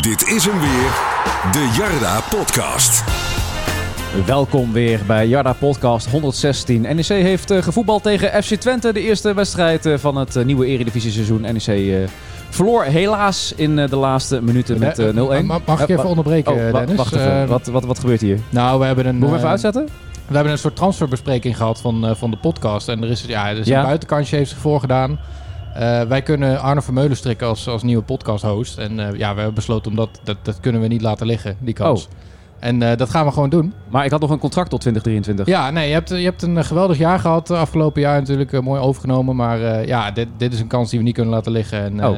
Dit is hem weer, de Jarda Podcast. Welkom weer bij Jarda Podcast 116. NEC heeft eh, gevoetbald tegen FC Twente. De eerste wedstrijd eh, van het eh, nieuwe Eredivisie seizoen. NEC eh, verloor helaas in eh, de laatste minuten met eh, 0-1. Ma- Mag ik je Eh, even wa- onderbreken, Oh, wa- Dennis? wacht even. Eh, wat, wat, wat gebeurt hier? Nou, we hebben een, Moet ik hem eh, even uitzetten? we hebben een soort transferbespreking gehad van, eh, van de podcast. En er is, ja, er is Ja. een buitenkantje heeft zich voorgedaan. Eh, wij kunnen Arno Vermeulen strikken als, als nieuwe podcast-host. En eh, ja, we hebben besloten om dat, dat, dat kunnen we niet laten liggen, die kans. Oh. En eh, dat gaan we gewoon doen. Maar ik had nog een contract tot 2023. Ja, nee, je hebt, je hebt een eh, geweldig jaar gehad. eh, Afgelopen jaar natuurlijk eh, mooi overgenomen. Maar eh, ja, dit, dit is een kans die we niet kunnen laten liggen. En, eh, Oh.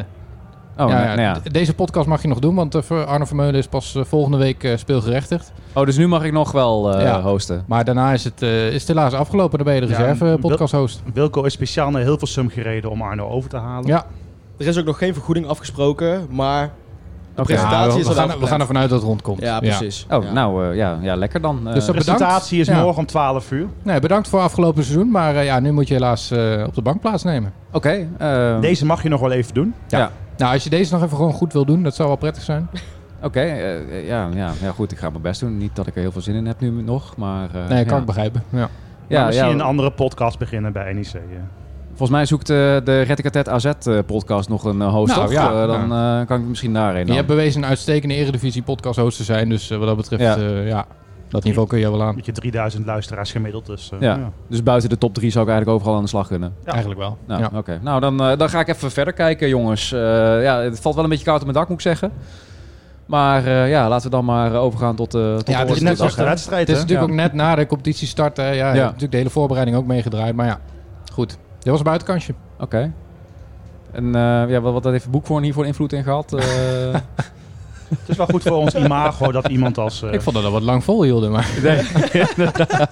Oh, ja, nou, nou ja. d- Deze podcast mag je nog doen, want eh, voor Arno Vermeulen is pas eh, volgende week eh, speelgerechtigd. oh, dus nu mag ik nog wel eh, Ja. hosten. Maar daarna is het, eh, is het helaas afgelopen. Dan ben je de Ja, reserve dat- eh, podcast-host. Wilco is speciaal naar Hilversum gereden om Arno over te halen. Ja, Er is ook nog geen vergoeding afgesproken, maar de Oké. Ja, presentatie we, is we al gaan, we gaan ervan uit dat het rondkomt. Ja, precies. Oh, Ja. nou eh, ja, ja, lekker dan. Eh, Dus De dat- presentatie is Bedankt. Ja. morgen om 12 uur. Nee, bedankt voor afgelopen seizoen. Maar eh, ja, nu moet je helaas eh, op de bank plaatsnemen. Oké. eh, Deze mag je nog wel even doen. Nou, als je deze nog even gewoon goed wil doen, dat zou wel prettig zijn. Oké, eh, ja, ja, ja, goed. Ik ga mijn best doen. Niet dat ik er heel veel zin in heb nu nog, maar... eh, Nee, kan ja. ik begrijpen. Ja. Ja, Ja, misschien ja, een andere podcast beginnen bij NEC. eh. Volgens mij zoekt eh, de Red Quartet AZ eh, podcast nog een eh, host, Nou, toch? ja, Eh, dan eh, kan ik misschien daarheen. Je Dan. hebt bewezen een uitstekende eredivisie podcast-host te zijn. Dus eh, wat dat betreft, Ja. ja. ja, dat niveau kun je wel aan. Met je 3000 luisteraars gemiddeld. Dus, eh, Ja. ja. Dus buiten de top 3 zou ik eigenlijk overal aan de slag kunnen. Ja. Eigenlijk wel. Nou, ja. oké. Nou, dan, eh, dan ga ik even verder kijken, jongens. Eh, ja, het valt wel een beetje koud op mijn dak, moet ik zeggen. Maar eh, ja, laten we dan maar eh, overgaan tot, eh tot Ja, de het is Net orde- net zoals de hè? wedstrijd. Het is hè? natuurlijk Ja. ook net na de competitie start. Hè. Ja, je hebt natuurlijk de hele voorbereiding ook meegedraaid. Maar ja, goed. Dit was een buitenkantje. Oké. En eh, ja, wat, wat heeft Boekhoorn hiervoor invloed in gehad? Eh, Het is wel goed voor ons imago dat iemand als... eh, Ik vond dat we wat lang volhielden, maar... Nee, inderdaad.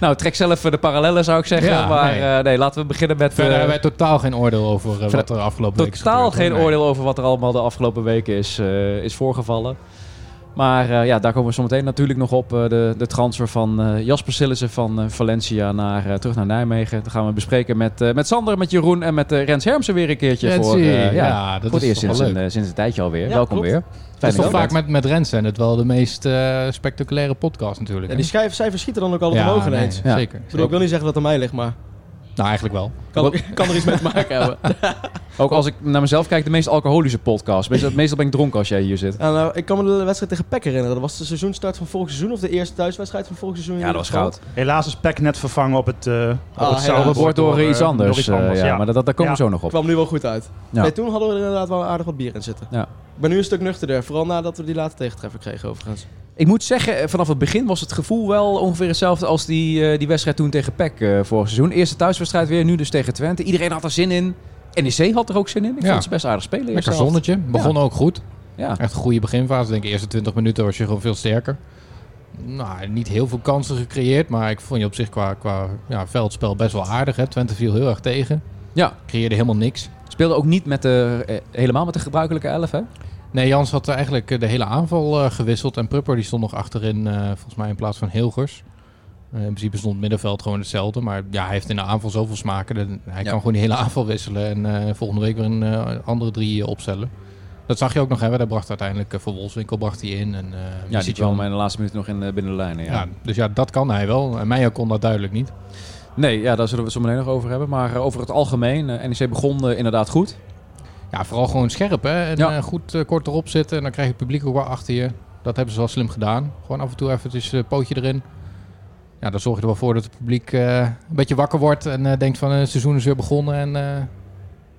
nou, trek zelf eh, de parallellen, zou ik zeggen. Ja, maar nee. nee. nee, laten we beginnen met... Verder eh, hebben wij totaal geen oordeel over eh, wat er afgelopen week is totaal gebeurd, hoor. geen Nee. oordeel over wat er allemaal de afgelopen weken is, eh, is voorgevallen. Maar eh, ja, daar komen we zometeen natuurlijk nog op. eh, de, de transfer van eh, Jasper Sillissen van eh, Valencia naar, eh, terug naar Nijmegen. Dat gaan we bespreken met, eh, met Sander, met Jeroen en met eh, Rens Hermsen weer een keertje. Rensie, voor, eh, ja, ja, dat voor het is eerst toch sinds wel een, leuk. eh, sinds een tijdje alweer. Ja, Welkom klopt. weer. Dat is toch dat je vaak bent. met, met Rens en het wel de meest eh, spectaculaire podcast natuurlijk. Ja, hè? die schijf, cijfers schieten dan ook altijd Ja, omhoog nee, ineens. Ja. Zeker. Ik bedoel, ik wil niet zeggen dat het aan mij ligt, maar Nou, eigenlijk wel. kan, kan er iets mee te maken hebben. Ook als ik naar mezelf kijk, de meest alcoholische podcast. Meestal, meestal ben ik dronken als jij hier zit. En, eh, ik kan me de wedstrijd tegen PEC herinneren. Dat was de seizoenstart van vorig seizoen of de eerste thuiswedstrijd van vorig seizoen. in Ja, dat was ieder geval. goud. Helaas is Peck net vervangen op het, eh op Ah, het helaas. Dat zouderbord wordt door eh, iets eh, anders. door iets anders, eh, ja, Maar dat, dat, daar komen we Ja. zo nog op. kwam nu wel goed uit. Ja. Nee, toen hadden we er inderdaad wel aardig wat bier in zitten. Ja. Ik ben nu een stuk nuchterder, vooral nadat we die late tegentreffer kregen overigens. Ik moet zeggen, eh, vanaf het begin was het gevoel wel ongeveer hetzelfde als die, eh, die wedstrijd toen tegen PEC eh, vorig seizoen. Eerste thuiswedstrijd weer, nu dus tegen Twente. Iedereen had er zin in. NEC had er ook zin in. Ik Ja. vond ze best aardig spelen. eerste Lekker helft. zonnetje. Begon ook goed. Ja. Echt een goede beginfase. Denk ik, eerste 20 minuten was je gewoon veel sterker. Nou, niet heel veel kansen gecreëerd. Maar ik vond je op zich qua, qua ja, veldspel best wel aardig. Hè. Twente viel heel erg tegen. ja, Creëerde helemaal niks. speelde ook niet met de, eh, helemaal met de gebruikelijke elf, hè? Nee, Jans had eigenlijk eh, de hele aanval eh, gewisseld. En Prupper die stond nog achterin, eh, volgens mij in plaats van Hilgers. Eh, in principe stond het middenveld gewoon hetzelfde. Maar ja, hij heeft in de aanval zoveel smaken. dat hij Ja. kan gewoon die hele aanval wisselen. En eh, volgende week weer een eh, andere drie eh, opstellen. Dat zag je ook nog hebben. Daar bracht uiteindelijk eh, Van Wolfswinkel bracht hij in. En, eh, Ja, die Misic kwam wel. in de laatste minuut nog in, eh, binnen de lijnen. Ja. Ja, dus ja, dat kan hij wel. En Meijer kon dat duidelijk niet. Nee, ja, daar zullen we het zo meteen nog over hebben. Maar eh, over het algemeen, eh, NEC begon eh, inderdaad goed. Ja, vooral gewoon scherp hè. En Ja. eh, goed eh, kort erop zitten. En dan krijg je het publiek ook wel achter je. Dat hebben ze wel slim gedaan. Gewoon af en toe eventjes een pootje erin. Ja, dan zorg je er wel voor dat het publiek eh, een beetje wakker wordt. En eh, denkt van eh, het seizoen is weer begonnen. En eh,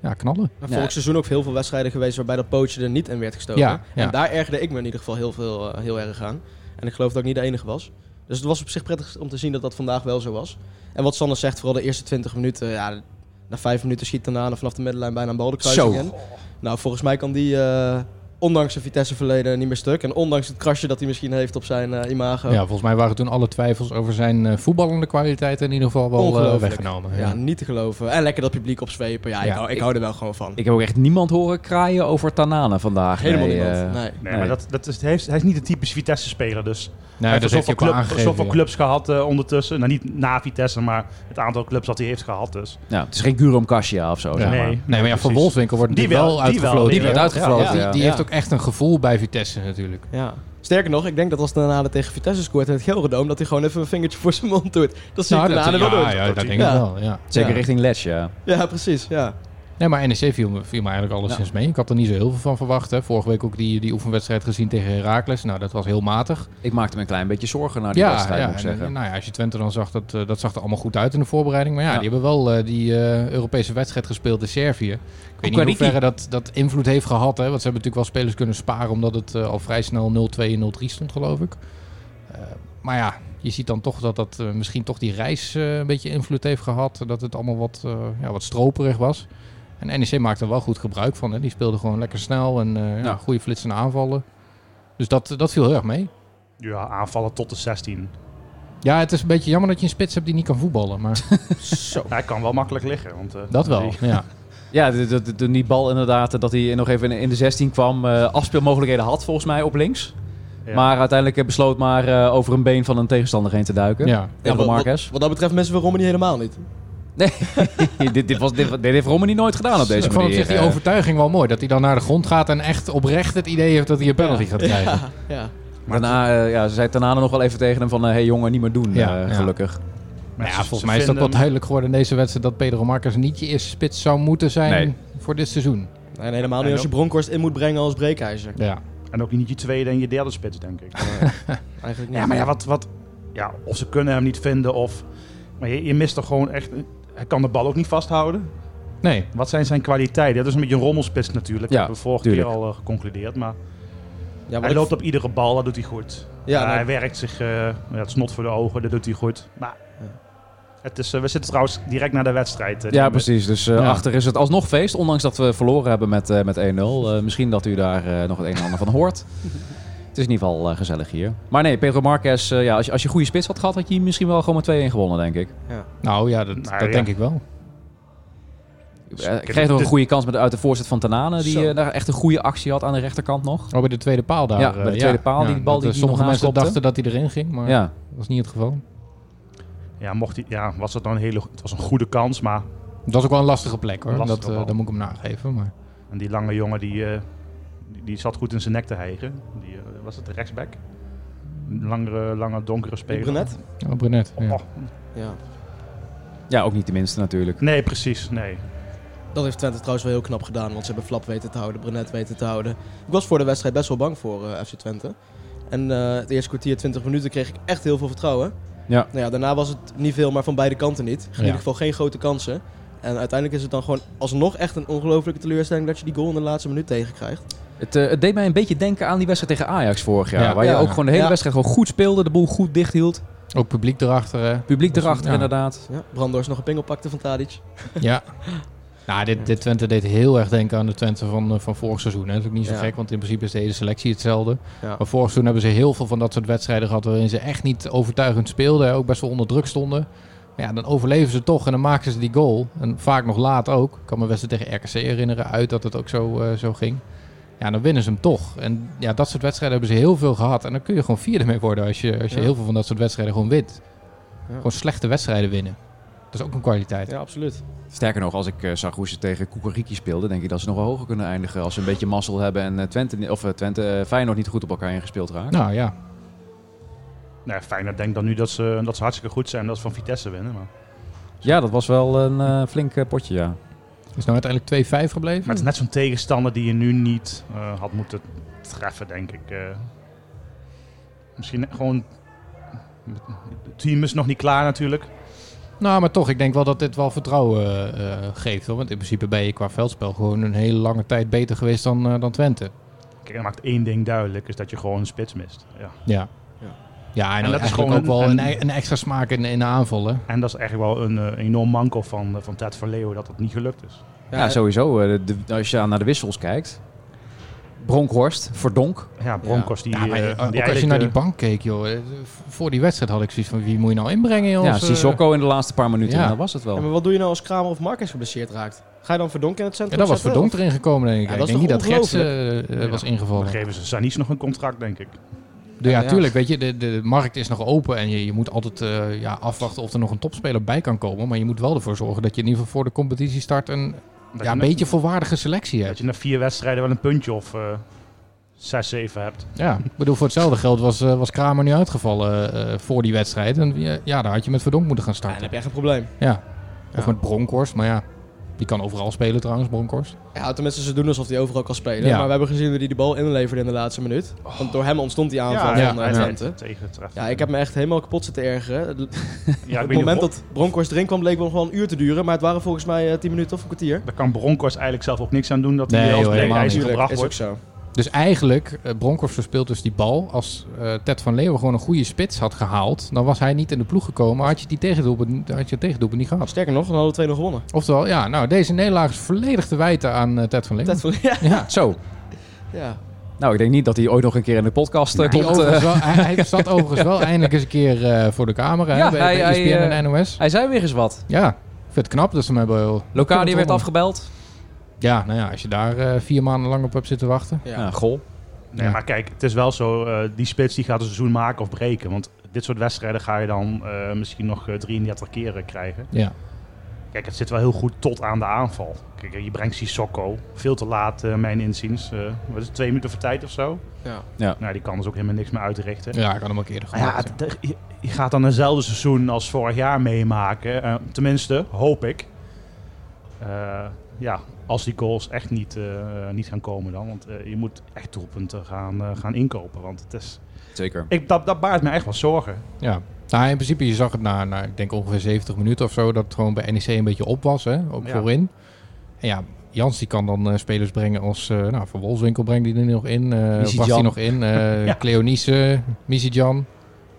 ja, knallen. Maar Ja. vorig Nou, seizoen ook heel veel wedstrijden geweest waarbij dat pootje er niet in werd gestoken. Ja, ja. En daar ergerde ik me in ieder geval heel, veel, eh, heel erg aan. En ik geloof dat ik niet de enige was. Dus het was op zich prettig om te zien dat dat vandaag wel zo was. En wat Sander zegt, vooral de eerste 20 minuten. Ja, na vijf minuten schiet daarna vanaf de middenlijn bijna een bal de kruising Zo. in. Nou, volgens mij kan die, eh, ondanks zijn Vitesse-verleden, niet meer stuk. En ondanks het krasje dat hij misschien heeft op zijn eh, imago. Ja, volgens mij waren toen alle twijfels over zijn eh, voetballende kwaliteit in ieder geval wel eh, Ongelooflijk. weggenomen. Ja, Nou, niet te geloven. En lekker dat publiek opzwepen. Ja, ik, Ja. hou, ik, hou er wel gewoon van. Ik heb ook echt niemand horen kraaien over Tanane vandaag. Helemaal Nee, niemand. eh, nee. Nee, Nee. maar dat, dat is, hij, is, hij is niet een typisch Vitesse-speler, dus Nee, heeft dat heeft zoveel, hij ook wel club- aangegeven. zoveel ja. clubs gehad eh, ondertussen. Nou, niet na Vitesse, maar het aantal clubs dat hij heeft gehad. Dus. Nou, het is geen Gurum Kasia of zo. Ja. zeg Nee. maar. Nee, maar ja, voor Precies. Wolfswinkel wordt Die die wel, wel, die wel, uitgefloten. die Die wordt wel. uitgefloten. Ja, ja, Die, die ja. heeft ook echt een gevoel bij Vitesse natuurlijk. Ja. Sterker nog, ik denk dat als Tenade tegen Vitesse scoort in het Gelredome, dat hij gewoon even een vingertje voor zijn mond doet. Dat ziet Nou, dat- Tenade wel ja, doen. ja, dat denk ik Ja. wel. Ja. Zeker Ja. richting Les, ja. Ja, precies. Ja. Nee, maar NEC viel me, viel me eigenlijk alleszins mee. Ik had er niet zo heel veel van verwacht. Hè. Vorige week ook die, die oefenwedstrijd gezien tegen Heracles. Nou, dat was heel matig. Ik maakte me een klein beetje zorgen naar die Ja, wedstrijd, ja, moet ik en, zeggen. en nou ja, als je Twente dan zag, dat, eh, dat zag er allemaal goed uit in de voorbereiding. Maar ja, Ja. die hebben wel eh, die eh, Europese wedstrijd gespeeld in Servië. Ik weet niet in Kukariki. hoeverre dat, dat invloed heeft gehad. Hè. Want ze hebben natuurlijk wel spelers kunnen sparen, omdat het eh, al vrij snel 0-2 en 0-3 stond, geloof ik. Eh, maar ja, je ziet dan toch dat dat eh, misschien toch die reis eh, een beetje invloed heeft gehad. Dat het allemaal wat, eh, ja, wat stroperig was. En NEC maakte er wel goed gebruik van. Hè. Die speelde gewoon lekker snel en eh, ja, Ja. goede flitsende aanvallen. Dus dat, dat viel heel erg mee. Ja, aanvallen tot de 16. Ja, het is een beetje jammer dat je een spits hebt die niet kan voetballen. Maar Zo. Hij kan wel makkelijk liggen. Want, eh, dat wel. die- Ja. Ja, de- de- de- toen die bal inderdaad, dat hij nog even in de 16 kwam, eh, afspeelmogelijkheden had volgens mij op links. Ja. Maar uiteindelijk eh, besloot maar eh, over een been van een tegenstander heen te duiken. Ja. Ja. Ja, wat, wat, Marquez. wat dat betreft mensen we Romney helemaal niet. dit, dit, was, dit, dit heeft Romani nooit gedaan op Ik deze vond op manier. zich die eh. overtuiging wel mooi. Dat hij dan naar de grond gaat en echt oprecht het idee heeft dat hij een penalty gaat krijgen. Ja, ja. Daarna eh, ja, ze zei Tanane nog wel even tegen hem van, hé hey, jongen, niet meer doen, Ja, eh, ja. gelukkig. maar Nou ja, ze- ze volgens mij is dat vinden wel hem- duidelijk geworden in deze wedstrijd dat Pedro Marcus niet je eerste spits zou moeten zijn Nee. voor dit seizoen. Nee, nee, helemaal niet als je Bronkhorst in moet brengen als breekijzer. Ja. En ook niet je tweede en je derde spits, denk ik. Eigenlijk niet. Ja, maar ja, wat, wat, ja, of ze kunnen hem niet vinden of... Maar je, je mist toch gewoon echt... Hij kan de bal ook niet vasthouden. Nee. Wat zijn zijn kwaliteiten? Dat is een beetje een rommelspits natuurlijk. Ja, dat hebben we vorige tuurlijk. keer al eh, geconcludeerd. Maar Ja, wat hij ik- loopt op iedere bal, dat doet hij goed. Ja, Ja, nou, Hij werkt zich, eh, ja, het snot voor de ogen, dat doet hij goed. Maar het is, eh, we zitten trouwens direct na de wedstrijd. eh, Ja, die- precies. Dus eh, Ja. achter is het alsnog feest, ondanks dat we verloren hebben met, eh, met 1-0. Eh, misschien dat u daar eh, nog het een en ander van hoort. Het is in ieder geval eh, gezellig hier. Maar nee, Pedro Marquez, eh, ja, als je, als je goede spits had gehad, had je hier misschien wel gewoon met 2-1 gewonnen, denk ik. Nou ja, dat, Nou, dat ja. denk ik wel. Hij kreeg Eh, nog een dit- goede kans met, uit de voorzet van Tanane, die Zo. eh, daar echt een goede actie had aan de rechterkant nog. Oh, bij de tweede paal daar. Ja, bij de eh, tweede paal, die bal dat, die eh, hij Sommige nog mensen aankopte. dachten dat hij erin ging, maar Ja, dat was niet het geval. Ja, mocht hij, ja, was het dan een hele, het was een goede kans, maar Dat was ook wel een lastige plek hoor. Lastige dat, eh, bal. dat moet ik hem nageven. Maar... en die lange jongen die, eh, die, die zat goed in zijn nek te hijgen. Die, eh, was het de rechtsback? Een Langere, lange, donkere die speler. brunet. Oh, Brunet. Ja. Oh, Ja. ja ook niet de minste natuurlijk. nee, precies, nee. Dat heeft Twente trouwens wel heel knap gedaan, want ze hebben Flap weten te houden, Brunet weten te houden. Ik was voor de wedstrijd best wel bang voor eh, FC Twente. En eh, het eerste kwartier, 20 minuten, kreeg ik echt heel veel vertrouwen. Ja. Nou ja, daarna was het niet veel, maar van beide kanten niet. In ieder geval geen grote kansen. En uiteindelijk is het dan gewoon alsnog echt een ongelooflijke teleurstelling dat je die goal in de laatste minuut tegenkrijgt. Het, eh, het deed mij een beetje denken aan die wedstrijd tegen Ajax vorig jaar. Ja. waar je Ja. ook gewoon de hele Ja. wedstrijd gewoon goed speelde, de boel goed dicht hield. Ook publiek erachter. hè. Publiek Dat is- erachter ja. inderdaad. Ja, Brandors nog een pingel pakte van Tadic. Ja. Nou, dit, dit Twente deed heel erg denken aan de Twente van, eh, van vorig seizoen. Hè. Dat is ook niet zo Ja. gek, want in principe is de hele selectie hetzelfde. Ja. Maar vorig seizoen hebben ze heel veel van dat soort wedstrijden gehad... waarin ze echt niet overtuigend speelden. hè. Ook best wel onder druk stonden. Maar ja, dan overleven ze toch en dan maken ze die goal. En vaak nog laat ook. Ik kan me wedstrijd tegen RKC herinneren uit dat het ook zo, eh, zo ging. Ja, dan winnen ze hem toch. En ja, dat soort wedstrijden hebben ze heel veel gehad. En dan kun je gewoon vierde mee worden als je, als je Ja. heel veel van dat soort wedstrijden gewoon wint. Ja. Gewoon slechte wedstrijden winnen. Dat is ook een kwaliteit. Ja, absoluut. Sterker nog, als ik eh, zag hoe ze tegen Kukuriki speelden, denk ik dat ze nog wel hoger kunnen eindigen. Als ze een beetje mazzel hebben en eh, Twente, ni- of, eh, Twente eh, Feyenoord niet goed op elkaar ingespeeld raakt. Nou ja, Nee, Nou Feyenoord denkt dan nu dat ze, dat ze hartstikke goed zijn en dat ze van Vitesse winnen. Maar, Nou, Ja, dat was wel een eh, flink eh, potje, ja. Is nou uiteindelijk 2-5 gebleven? maar het is net zo'n tegenstander die je nu niet eh, had moeten treffen, denk ik. eh. misschien gewoon... Het team is nog niet klaar natuurlijk. Nou, maar toch, ik denk wel dat dit wel vertrouwen eh, eh, geeft. Hoor. Want in principe ben je qua veldspel gewoon een hele lange tijd beter geweest dan, eh, dan Twente. Kijk, dat maakt één ding duidelijk, is dat je gewoon een spits mist. Ja. Ja. Ja. Ja, en, En dat dat is is gewoon ook gewoon wel een- een, een extra smaak in, in de aanvallen. En dat is echt wel een eh, enorm manco van, eh, van Ted Verleeuwen dat dat niet gelukt is. Ja, sowieso. eh, de- de- als je naar de wissels kijkt. Bronkhorst, Verdonk. Ja, Broncos die... Ja, maar, eh, eh, die ook als je eigenlijk, naar die eh, bank keek, joh. eh, Voor die wedstrijd had ik zoiets van, wie moet je nou inbrengen, joh? Ja, Als, eh, Sissoko in de laatste paar minuten. ja. En dat was het wel. Ja, maar wat doe je nou als Kramer of Marcus geblesseerd raakt? Ga je dan verdonken in het Ja, centrum? dat was zetten, verdomd erin gekomen, denk ik. Ja, ik dat is denk niet toch dat Gertsen eh, eh, was Ja. ingevallen. Dan geven ze Sanis nog een contract, denk ik. of- Ja, Ja, ja. tuurlijk. Weet je, de, de markt is nog open en je, je moet altijd eh, ja, afwachten of er nog een topspeler bij kan komen. Maar je moet wel ervoor zorgen dat je in ieder geval voor de competitie start een, Dat ja, je een na- beetje volwaardige selectie Dat hebt. je na vier wedstrijden wel een puntje of eh, zes, zeven hebt. Ja, ik bedoel, voor hetzelfde geld was, eh, was Kramer nu uitgevallen eh, voor die wedstrijd. En eh, ja, daar had je met Verdonk moeten gaan Ja, dan starten. heb je echt een probleem. Ja. Of Ja. met Bronkhorst, maar ja. Die kan overal spelen trouwens, Bronkhorst. Ja, tenminste, ze doen alsof hij overal kan spelen. Ja. Maar we hebben gezien hoe hij die bal inleverde in de laatste minuut. Want door hem ontstond die aanval ja, van ja. eh, Twente. Ja. Tegen terecht. ik heb me echt helemaal kapot zitten ergeren. Ja, Het- ik Op weet het niet moment of- dat Bronkhorst erin kwam, bleek wel nog wel een uur te duren. Maar het waren volgens mij eh, 10 minuten of een kwartier. Daar kan Bronkhorst eigenlijk zelf ook niks aan doen dat Nee, hij joh, als helemaal breekijzer niet. gebracht is ook wordt. zo. Dus eigenlijk, eh, Bronkhorst verspeelt dus die bal. Als eh, Ted van Leeuwen gewoon een goede spits had gehaald, dan was hij niet in de ploeg gekomen. Had je die tegendoelpunt, niet- had je het tegendoelpunt niet gehad. Nou, Sterker nog, dan hadden we 2-0 gewonnen. Oftewel, ja, nou, deze nederlaag is volledig te wijten aan eh, Ted van Leeuwen. Ted van- ja, Ja, zo. ja. Nou, ik denk niet dat hij ooit nog een keer in de podcast eh, Die komt. eh. overigens wel, hij, hij zat overigens wel eindelijk eens een keer eh, voor de camera Ja, hè, bij, E hij- bij hij, ESPN eh, en NOS. hij zei weer eens wat. Ja, ik vind het knap dat ze hem hebben... Locadia werd afge. afgebeld. Ja, nou ja, als je daar eh, vier maanden lang op hebt zitten wachten. Ja. Ja, goal. Nee, Ja. maar kijk, het is wel zo, eh, die spits die gaat een seizoen maken of breken. Want dit soort wedstrijden ga je dan eh, misschien nog eh, 33 keren krijgen. Ja. Kijk, het zit wel heel goed tot aan de aanval. Kijk, je brengt Sissoko veel te laat, eh, mijn inziens. Eh, wat is het, twee minuten voor tijd of zo? Ja. Ja. Nou, die kan dus ook helemaal niks meer uitrichten. ja, ik had hem ook eerder Maar Ja, gemaakt. het- je, je gaat dan hetzelfde seizoen als vorig jaar meemaken. Eh, tenminste, hoop ik. Eh, ja, als die goals echt niet, eh, niet gaan komen dan. Want eh, je moet echt doelpunten gaan, eh, gaan inkopen. Want het is, Zeker. ik, dat, dat baart me echt wel zorgen. Ja. Nou, in principe, je zag het na, na, ik denk ongeveer 70 minuten of zo, dat het gewoon bij NEC een beetje op was, hè? ook Ja. voorin. En ja, Jans die kan dan eh, spelers brengen als, eh, nou, Van Wolfswinkel brengt die er nu nog in, eh Misijan. bracht hij nog in, eh Ja. Cleonice, Misijan.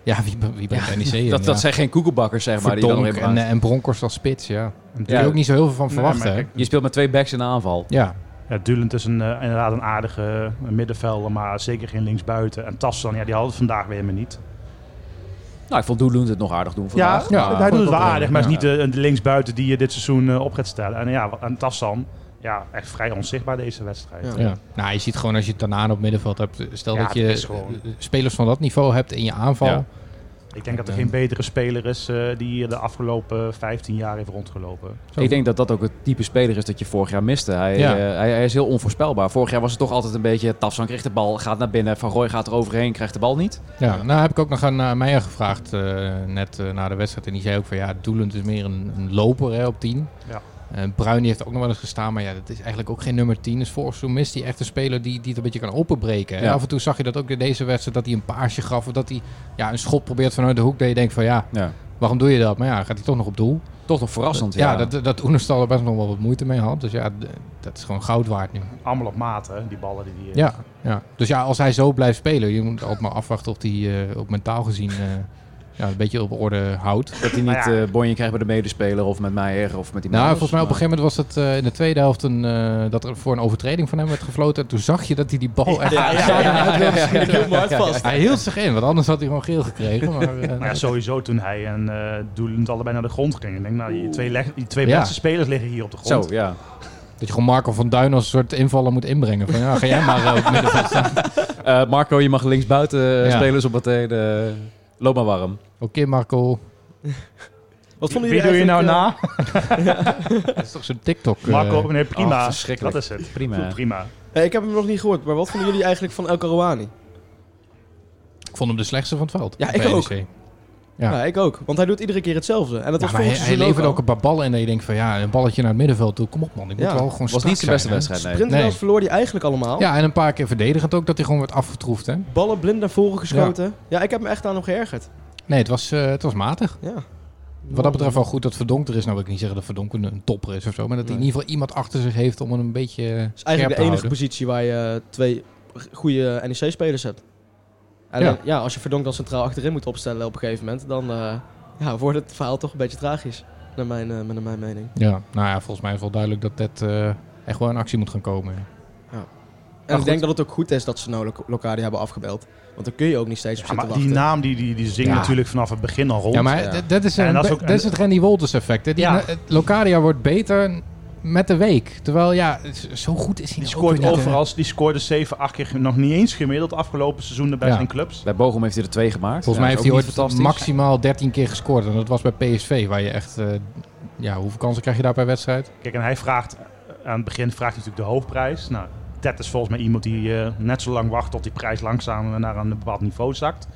Ja, wie, wie brengt NEC in? Dat, dat ja. zijn geen koekelbakkers, zeg maar. Die Verdonk dan erin en, plaatsen. eh, en Bronkhorst als spits, ja. En Daar kun je ook Dulent- niet zo heel veel van verwachten, maar hè? kijk, Je speelt met twee backs in de aanval. Ja, ja, Dulent is een, eh, inderdaad een aardige eh, middenvelder, maar zeker geen linksbuiten. En Tassan, ja, die hadden het vandaag weer helemaal niet. Nou, ik vond Doelund het nog aardig doen vandaag. Ja, maar- hij doet het ook wel wel. aardig, maar het is Ja. niet de, de linksbuiten die je dit seizoen eh, op gaat stellen. En ja, en Tassan, ja, echt vrij onzichtbaar deze wedstrijd. Ja. Ja. Nou, je ziet gewoon als je Tanaan op middenveld hebt. Stel Ja, dat dat je is gewoon- eh, spelers van dat niveau hebt in je aanval. Ja. Ik denk dat er Ja. geen betere speler is eh, die hier de afgelopen 15 jaar heeft rondgelopen. Zo. Ik denk dat dat ook het type speler is dat je vorig jaar miste. Hij, Ja. eh, hij, hij is heel onvoorspelbaar. Vorig jaar was het toch altijd een beetje... Tafsan krijgt de bal, gaat naar binnen. Van Roy gaat er overheen, krijgt de bal niet. Ja, nou heb ik ook nog aan eh, Meijer gevraagd eh, net eh, na de wedstrijd. En die zei ook van ja, Doelend is meer een, een loper hè, op 10. Ja. Eh, Bruin die heeft ook nog wel eens gestaan, maar ja, dat is eigenlijk ook geen nummer 10. Dus vorig seizoen mist hij echt een speler die, die het een beetje kan openbreken. En Ja. af en toe zag je dat ook in deze wedstrijd, dat hij een paasje gaf. Of dat hij ja, een schot probeert vanuit de hoek. Dat je denkt van ja, Ja. waarom doe je dat? Maar ja, gaat hij toch nog op doel. Toch nog verrassend, ja, ja. dat, dat Oenestal er best nog wel wat moeite mee had. Dus ja, d- dat is gewoon goud waard nu. Allemaal op maat, hè, die ballen die die. eh, Ja, ja, dus ja, als hij zo blijft spelen, je moet altijd maar afwachten of hij eh, ook mentaal gezien eh, ja, een beetje op orde houdt. Dat hij niet Nou ja. eh bonje krijgt bij de medespeler of met Meijer of met die Nou, Maas, volgens mij op een maar- gegeven moment was het eh, in de tweede helft een, eh, dat er voor een overtreding van hem werd gefloten. En toen zag je dat hij die bal echt... Ja, ja, ja, Ik hield me hard vast. Hij hield zich in, want anders had hij gewoon geel gekregen. Maar, eh, Nou ja, sowieso toen hij en eh Doelend allebei naar de grond gingen. Ik denk, nou, die twee, leg- die twee Ja. beste spelers liggen hier op de grond. Zo, ja. dat je gewoon Marco van Duin als een soort invaller moet inbrengen. Van ja, ga jij maar eh, op het middenveld staan. Eh, Marco, je mag linksbuiten eh, Ja. spelers op meteen. eh loop maar warm. Oké Marco, Wat vonden Wie jullie doe je nou eigenlijk, eh, na? dat is toch zo'n TikTok... eh, Marco, nee, prima. oh, verschrikkelijk. dat is het. Prima. prima. eh, eh, ik heb hem nog niet gehoord, maar wat vonden jullie eigenlijk van El Karouani? Ik vond hem de slechtste van het veld. Ja, ik bij ook. NEC. Ja. Ja. ik ook. Want hij doet iedere keer hetzelfde. En dat Ja, was maar hij, volgens hij levert ook een paar ballen en dat je denkt van ja, een balletje naar het middenveld toe. Kom op man, ik moet Ja, wel gewoon was strak niet zijn beste zijn, hè. wedstrijd, nee. Sprintduels Nee. verloor hij eigenlijk allemaal. Ja, en een paar keer verdedigend ook dat hij gewoon werd afgetroefd. Hè? Ballen blind naar voren geschoten. Ja. ik heb me echt aan hem geërgerd. Nee, het was, eh, het was matig. Ja. Wat dat betreft wel goed dat Verdonk er is. Nou wil ik niet zeggen dat Verdonk een, een topper is of zo. Maar dat hij in Nee. ieder geval iemand achter zich heeft om hem een beetje eh, is scherp eigenlijk te de enige houden. positie waar je eh, twee goede NEC-spelers hebt. En eh, Ja. ja. ja, als je Verdonk dan centraal achterin moet opstellen op een gegeven moment, dan eh, ja, wordt het verhaal toch een beetje tragisch. Naar mijn, eh, naar mijn mening. Ja, nou ja, volgens mij is wel duidelijk dat Ted eh, echt wel in actie moet gaan komen. ja. En ik goed. denk dat het ook goed is dat ze nou Lo- Locadia hebben afgebeld. Want dan kun je ook niet steeds op Ja, zitten maar wachten. die naam die, die, die zingt Ja. natuurlijk vanaf het begin al rond. Ja, maar ja. d- dat is, En een, dat is be- ook- dat is het Randy Wolters effect. Hè? Die, Ja. na- het Locadia wordt beter met de week. Terwijl, ja, z- zo goed is hij Die nou ook scoort weer niet, hè. overal. Die scoorde 7, 8 keer nog niet eens gemiddeld afgelopen seizoen bij Ja. zijn clubs. Bij Bochum heeft hij er twee gemaakt. Volgens mij Ja, heeft hij dat is ook ooit niet fantastisch. maximaal 13 keer gescoord. En dat was bij PSV, waar je echt... eh, ja, hoeveel kansen krijg je daar per wedstrijd? Kijk, en hij vraagt eh, aan het begin vraagt hij natuurlijk de hoofdprijs. Nou, dat is volgens mij iemand die eh, net zo lang wacht tot die prijs langzaam naar een bepaald niveau zakt.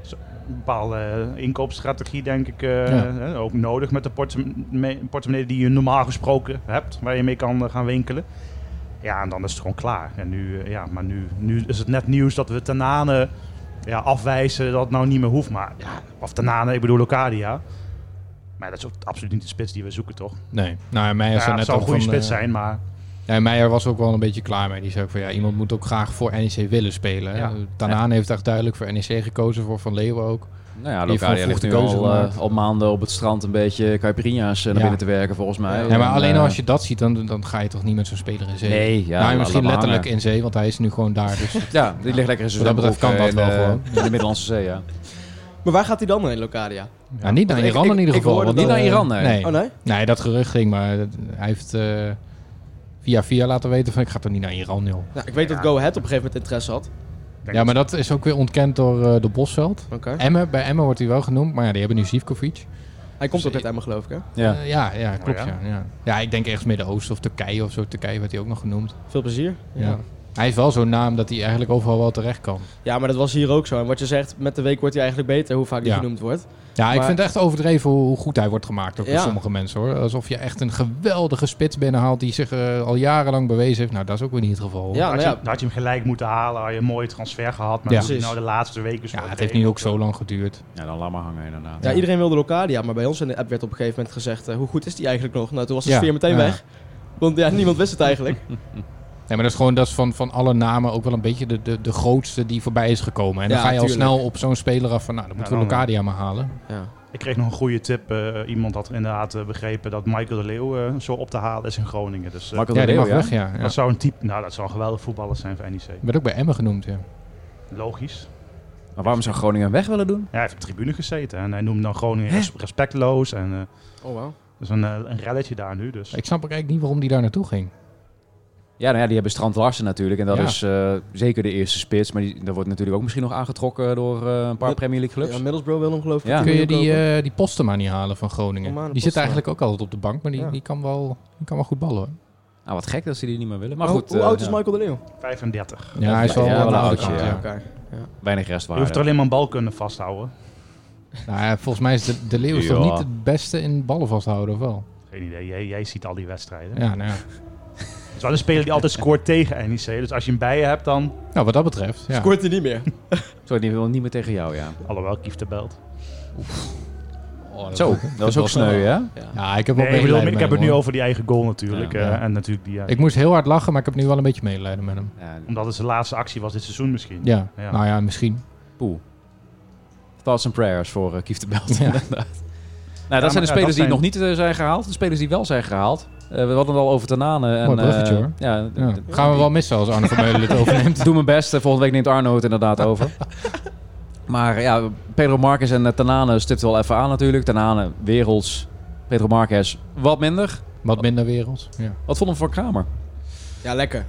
Zo- Een bepaalde eh, inkoopstrategie, denk ik, eh, Ja. hè, ook nodig met de portemonnee, portemonnee die je normaal gesproken hebt, waar je mee kan eh, gaan winkelen. Ja, en dan is het gewoon klaar. En nu, eh, ja, maar nu, nu is het net nieuws dat we Tanane ja, afwijzen dat het nou niet meer hoeft. Maar, ja, of Tanane, ik bedoel Locadia. Maar dat is ook absoluut niet de spits die we zoeken, toch? Nee. Nou, en Meijer Ja, zou het net zou ook een goede van, spits eh, zijn, maar Ja, en Meijer was ook wel een beetje klaar mee. Die zei ook van ja, iemand moet ook graag voor NEC willen spelen. Ja. Ja. Tanaan heeft echt duidelijk voor NEC gekozen, voor Van Leeuwen ook. Nou ja, Die heeft Locadia gewoon ligt vroeg nu de keuze al, eh, gemaakt. al maanden op het strand een beetje caipirinha's eh, naar Ja. binnen te werken, volgens mij. Ja, Ja, maar En, alleen eh, als je dat ziet, dan, dan ga je toch niet met zo'n speler in zee. Nee, ja, nou, laat- laat misschien maar letterlijk hangen. in zee, want hij is nu gewoon daar. Dus Ja, die ligt lekker in zijn Wat dat betreft kan zwembroek, dat eh, wel in, gewoon. eh, In de Middellandse Zee, ja. Maar waar gaat hij dan heen, Locadia? ja, Nou, niet naar Want ik- Iran ik- in ieder ik geval. hoorde want dat- Niet naar eh, Iran, nee. nee. Oh nee? Nee, dat gerucht ging, maar dat- hij heeft eh, via via laten weten van ik ga toch niet naar Iran, joh. Nou, ik weet Ja. dat Go Ahead op een gegeven moment interesse had. Denk Ja, maar dat is ook weer ontkend door eh, door Bosveld. Oké. Emmen, bij Emmen wordt hij wel genoemd, maar ja, die hebben nu Zivkovic. Hij Dus komt ook uit Emmen, geloof ik, hè? Ja. Eh, ja, ja, klopt. Oh ja. ja. Ja, ja. ik denk ergens Midden-Oosten of Turkije of zo. Turkije werd hij ook nog genoemd. Veel plezier. Ja. Hij is wel zo'n naam dat hij eigenlijk overal wel terecht kan. Ja, maar dat was hier ook zo. En wat je zegt, met de week wordt hij eigenlijk beter, hoe vaak hij Ja. genoemd wordt. Ja, ik Maar- vind het echt overdreven hoe, hoe goed hij wordt gemaakt ook door Ja. sommige mensen hoor. Alsof je echt een geweldige spits binnenhaalt die zich eh, al jarenlang bewezen heeft. Nou, dat is ook weer niet het geval. Ja, had, nou je, ja. dan had je hem gelijk moeten halen, had je een mooie transfer gehad. Maar Ja. als hij Precies. nou de laatste weken zo Ja, het deed, heeft nu ook zo lang geduurd. Ja, dan laat maar hangen inderdaad. Ja, Ja. iedereen wilde Locadia, maar bij ons in de app werd op een gegeven moment gezegd, eh, hoe goed is die eigenlijk nog? Nou, toen was de Ja. sfeer meteen Ja. weg. Want ja, niemand wist het eigenlijk. Nee, maar dat is gewoon dat is van, van alle namen ook wel een beetje de, de, de grootste die voorbij is gekomen. En dan Ja, ga je al tuurlijk. snel op zo'n speler af van, nou, dan moeten Ja, we dan- eh, Locadia maar halen. Ja. Ik kreeg nog een goede tip. eh, iemand had inderdaad eh, begrepen dat Michael de Leeuw eh, zo op te halen is in Groningen. Dus eh, Marco Ja, de die Leeuw, mag ja. weg, ja. ja. dat zou een type, nou dat zou een geweldig voetballer zijn voor NEC. Werd ook bij Emmen genoemd, ja. Logisch. Maar waarom zou Groningen hem weg willen doen? Ja, hij heeft op de tribune gezeten en hij noemde dan Groningen res- respectloos. En eh Oh, wow. er is een, eh, een relletje daar nu dus. Ik snap ook eigenlijk niet waarom die daar naartoe ging. Ja, nou ja, die hebben Strand Larsen natuurlijk. En dat Ja. is eh, zeker de eerste spits. Maar die, dat wordt natuurlijk ook misschien nog aangetrokken door eh, een paar Ja, Premier League clubs. Ja, Middlesbrough wil hem geloof ik. Ja. voor Kun 10 je die, miljoen kopen. eh die posten maar niet halen van Groningen? Romano die zit Postema. eigenlijk ook altijd op de bank, maar die, Ja. die, kan, wel, die kan wel goed ballen. Hoor. Nou, wat gek dat ze die niet meer willen. Maar Hoe- goed, hoe eh, oud is ja. Michael de Leeuw? 35. Ja, hij is wel ja, wel wel een een oude oudje, kant, ja. ja. Elkaar. weinig Je restwaarde. hoeft er alleen maar een bal kunnen vasthouden. Nou, ja, volgens mij is de, de Leeuw is toch Ja. niet het beste in ballen vasthouden, of wel? Geen idee, jij, jij ziet al die wedstrijden. Ja, nou, ja. Het is wel een speler die altijd scoort tegen NEC. Dus als je hem bij je hebt dan... nou wat dat betreft. Ja. Scoort hij niet meer. Sorry, die wil niet meer tegen jou, ja. Alhoewel, Kief de belt. Oh, Zo, dat is ook sneu, hè? Ja, ik heb wel Nee, ik, bedoel, medelijden ik met heb hem, het nu hoor. over die eigen goal natuurlijk. Ja, eh, ja. En natuurlijk die... ja, Ik moest heel hard lachen, maar ik heb nu wel een beetje medelijden met hem. Ja, omdat het zijn laatste actie was dit seizoen misschien. Ja, Ja. nou ja, misschien. poeh. Thoughts and prayers voor eh, Kief de Belt, Ja. inderdaad. Nou, dat maar, ja, zijn de spelers dat die zijn- nog niet eh, zijn gehaald. De spelers die wel zijn gehaald. Eh, we hadden het al over Tanane. En, Mooi bruggetje, eh, hoor. Ja, d- Ja. d- Gaan we wel missen als Arne van Meulen het overneemt. Doe mijn best. Eh, Volgende week neemt Arno het inderdaad over. maar eh, ja, Pedro Marques en eh, Tanane stipt wel even aan natuurlijk. Tanane, werelds. Pedro Marques, wat minder. Wat minder wereld. Ja, Wat vond hem voor Kramer? Ja, lekker.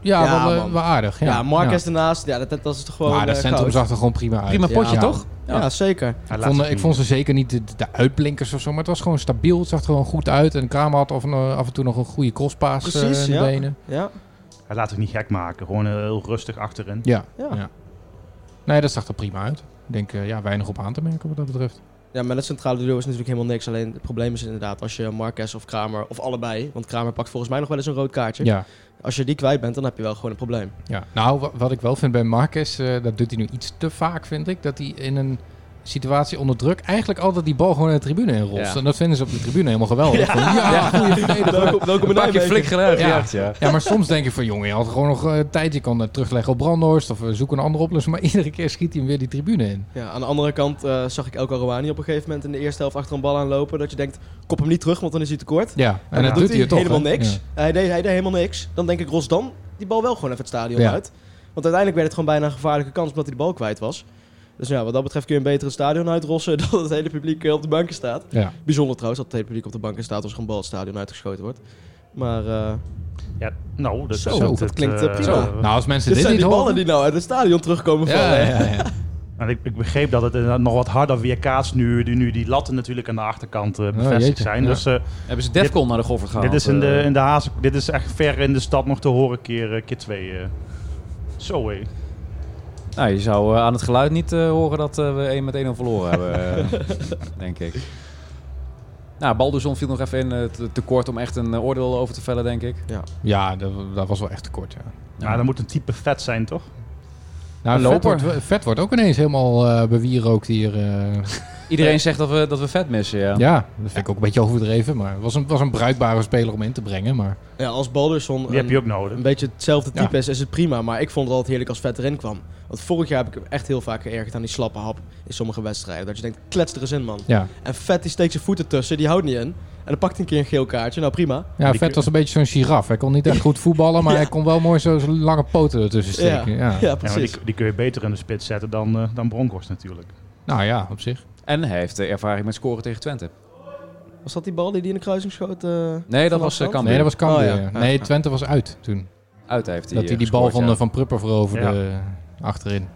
ja, Ja, wel, eh, man. wel aardig. Ja, Ja, Marcus daarnaast. Ja, dat, dat is toch Ja. gewoon... Maar Ah, dat eh, centrum goud. zag er gewoon prima uit. Prima Ja. potje, Ja. toch? Ja, zeker. Hij Ik laat vond, het ik zien. vond ze zeker niet de, de uitblinkers of zo, maar het was gewoon stabiel. Het zag er gewoon goed uit. En Kramer had af en, eh, af en toe nog een goede crosspaas eh, Precies, in de ja. benen. Ja. Hij laat het niet gek maken. Gewoon eh, heel rustig achterin. Ja. Ja. ja. Nee, dat zag er prima uit. Ik denk, eh, ja, weinig op aan te merken wat dat betreft. ja, maar dat centrale duo is natuurlijk helemaal niks. Alleen het probleem is inderdaad als je Marquez of Kramer, of allebei... Want Kramer pakt volgens mij nog wel eens een rood kaartje. Ja. Als je die kwijt bent, dan heb je wel gewoon een probleem. ja. Nou, wa- wat ik wel vind bij Marcus, eh, dat doet hij nu iets te vaak, vind ik. Dat hij in een situatie onder druk eigenlijk altijd die bal gewoon naar de tribune in rolt. Ja. En dat vinden ze op de tribune helemaal geweldig. Van, Ja, goeie verdediger. Welkom, welkom in Pak je Nijmegen. flik gelegd. Ja. Ja. ja. Ja, maar soms denk ik van, jongen, je had gewoon nog eh, tijd. Je kan eh, terugleggen op Brandhorst of eh, zoek een andere oplossing. Maar iedere keer schiet hij hem weer die tribune in. Ja, aan de andere kant eh, zag ik Elke Rouhani op een gegeven moment in de eerste helft achter een bal aanlopen. Dat je denkt, kop hem niet terug, want dan is hij tekort. Ja, en, dat doet hij, toch. helemaal hè? niks. Ja. Hij, deed, hij deed helemaal niks. Dan denk ik, Rosdan, die bal wel gewoon even het stadion Ja. uit. Want uiteindelijk werd het gewoon bijna een gevaarlijke kans omdat hij de bal kwijt was. Dus ja, wat dat betreft kun je een betere stadion uitrossen dan het hele publiek eh, op de banken staat. Ja. Bijzonder trouwens dat het hele publiek op de banken staat als er een bal het stadion uitgeschoten wordt. Maar eh, Ja, nou, dat, Zo, dat klinkt, eh, eh, prima. eh, Nou, als mensen dit dit, zijn niet die ballen horen... die nou uit het stadion terugkomen ja, vallen. hè? ja, ja. en ik, ik begreep dat het inderdaad nog wat harder weerkaatst nu, die- nu die latten natuurlijk aan de achterkant eh, bevestigd Oh, jeetje, zijn. ja. Dus eh, Hebben ze Defcon naar de Goffert gehaald? dit, is in de, eh, in de haas, dit is echt ver in de stad nog te horen keer, eh, keer twee. eh. Zo hé. Nou, je zou eh, aan het geluid niet eh, horen dat eh, we 1 met 1-0 verloren hebben, eh, denk ik. Nou, Balderson viel nog even in. eh, te, te kort om echt een eh, oordeel over te vellen, denk ik. ja dat, dat was wel echt tekort, ja. Maar dat moet een type vet zijn, toch? Nou, Een vet loper. wordt, vet wordt ook ineens helemaal eh bewierookt hier. eh. Iedereen zegt dat we, dat we vet missen, ja. Ja, dat vind ik ook een beetje overdreven. Maar het was een, was een bruikbare speler om in te brengen. Maar Ja, als Balderson Die heb je ook een nodig. beetje hetzelfde type Ja. is, is het prima. Maar ik vond het altijd heerlijk als Vet erin kwam. Want vorig jaar heb ik hem echt heel vaak geërgerd aan die slappe hap in sommige wedstrijden. Dat je denkt, klets er eens in, man. ja, En Vet die steekt zijn voeten tussen, die houdt niet in. En dan pakt hij een keer een geel kaartje. Nou, prima. ja Die Vet kun- was een beetje zo'n giraf. Hij kon niet echt goed voetballen, maar Ja. hij kon wel mooi zo zijn lange poten ertussen steken. Ja. Ja, Ja, maar precies. die, die kun je beter in de spits zetten dan, eh, dan Bronkhorst natuurlijk. Nou ja, op zich. En hij heeft eh, ervaring met scoren tegen Twente. Was dat die bal die die in de kruising schoot? eh, Nee, dat vanaf was eh, afstand? Cambuur. Nee, dat was Cambuur. Oh, ja. ja. Nee, Twente was uit toen. Uit heeft hij dat hij eh, die bal gescoord, van, ja. eh, van Prupper veroverde eh, achterin.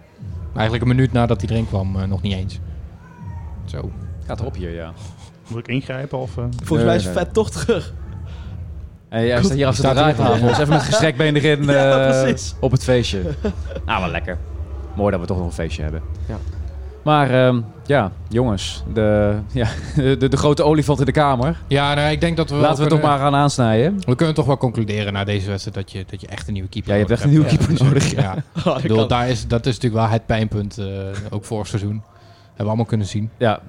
Eigenlijk een minuut nadat hij erin kwam, eh, nog niet eens. Zo. Gaat erop hier, ja. Moet ik ingrijpen of... eh? Volgens mij is Nee, nee. Vet toch terug. Hey, jij staat Eh, hier achter de staat hier. draaitafel. Dus even met gestrekt been erin Ja, eh, precies. op het feestje. nou, wel lekker. Mooi dat we toch nog een feestje hebben. Ja. Maar ehm, ja, jongens. De, ja, de, de grote olifant in de kamer. Ja, nou, ik denk dat we. wel Laten we het toch kunnen- maar gaan aansnijden. We kunnen toch wel concluderen na deze wedstrijd dat je, dat je echt een nieuwe keeper Ja, je hebt echt een nieuwe nodig keeper nodig. Ja. Ja. Oh, dat Ik bedoel, kan. daar is, dat is natuurlijk wel het pijnpunt, eh, ook vorig seizoen. Hebben we allemaal kunnen zien. Ja.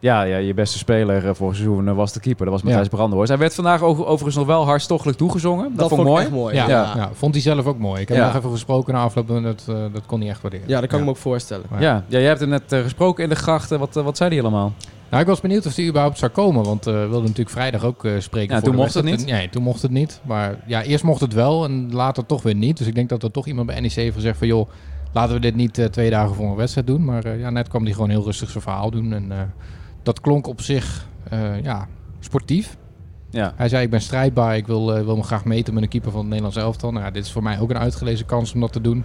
Ja, ja, je beste speler eh, vorig seizoen eh, was de keeper. Dat was Matthijs Ja. Brandenhorst. Hij werd vandaag o- overigens nog wel hartstochtelijk toegezongen. Dat, Dat vond ik mooi. echt mooi. Ja, Ja, ja. ja. vond hij zelf ook mooi. Ik heb Ja. hem nog even gesproken na afloop en dat, eh, dat kon hij echt waarderen. dat kan ik me ook voorstellen. mooi. Ja. ja, jij hebt hem net eh, gesproken in de grachten. Wat, eh, wat zei hij allemaal? Nou, ik was benieuwd of hij überhaupt zou komen, want eh, we wilden natuurlijk vrijdag ook eh, spreken. Ja, voor toen de mocht het wedstrijd. En- Nee, toen mocht het niet. Maar ja, eerst mocht het wel en later toch weer niet. Dus ik denk dat er toch iemand bij NEC heeft gezegd van... joh, laten we dit niet eh, twee dagen voor een wedstrijd doen. Maar eh, ja, net kwam hij gewoon heel rustig zijn verhaal doen. En eh, dat klonk op zich, eh, ja, sportief. Ja. Hij zei, ik ben strijdbaar. Ik wil, eh, wil me graag meten met een keeper van het Nederlands elftal. Nou, ja, dit is voor mij ook een uitgelezen kans om dat te doen.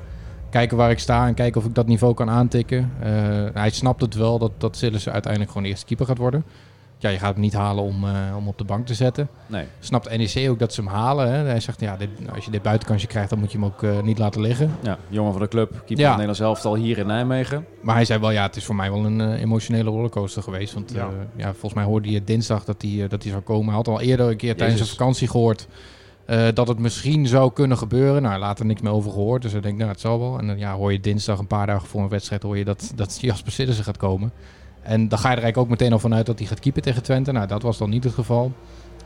Kijken waar ik sta en kijken of ik dat niveau kan aantikken. Eh, hij snapt het wel dat, dat Sillissen uiteindelijk gewoon de eerste keeper gaat worden. Ja, je gaat hem niet halen om, eh, om op de bank te zetten. Nee. Snapt NEC ook dat ze hem halen. Hè? Hij zegt, ja, dit, nou, als je dit buitenkansje krijgt, dan moet je hem ook eh, niet laten liggen. Ja, jongen van de club. Keeper van het Ja. Nederlands elftal hier in Nijmegen. Maar hij zei wel, ja, het is voor mij wel een eh, emotionele rollercoaster geweest. Want eh, Ja. ja. volgens mij hoorde hij het dinsdag dat hij, eh, dat hij zou komen. Hij had al eerder een keer tijdens Jezus. een vakantie gehoord eh, dat het misschien zou kunnen gebeuren. Nou, later niks meer over gehoord. Dus ik denk, nou, het zal wel. En dan ja, hoor je dinsdag een paar dagen voor een wedstrijd hoor je dat, dat Jasper Sillissen gaat komen. En dan ga je er eigenlijk ook meteen al vanuit dat hij gaat keepen tegen Twente. Nou, dat was dan niet het geval.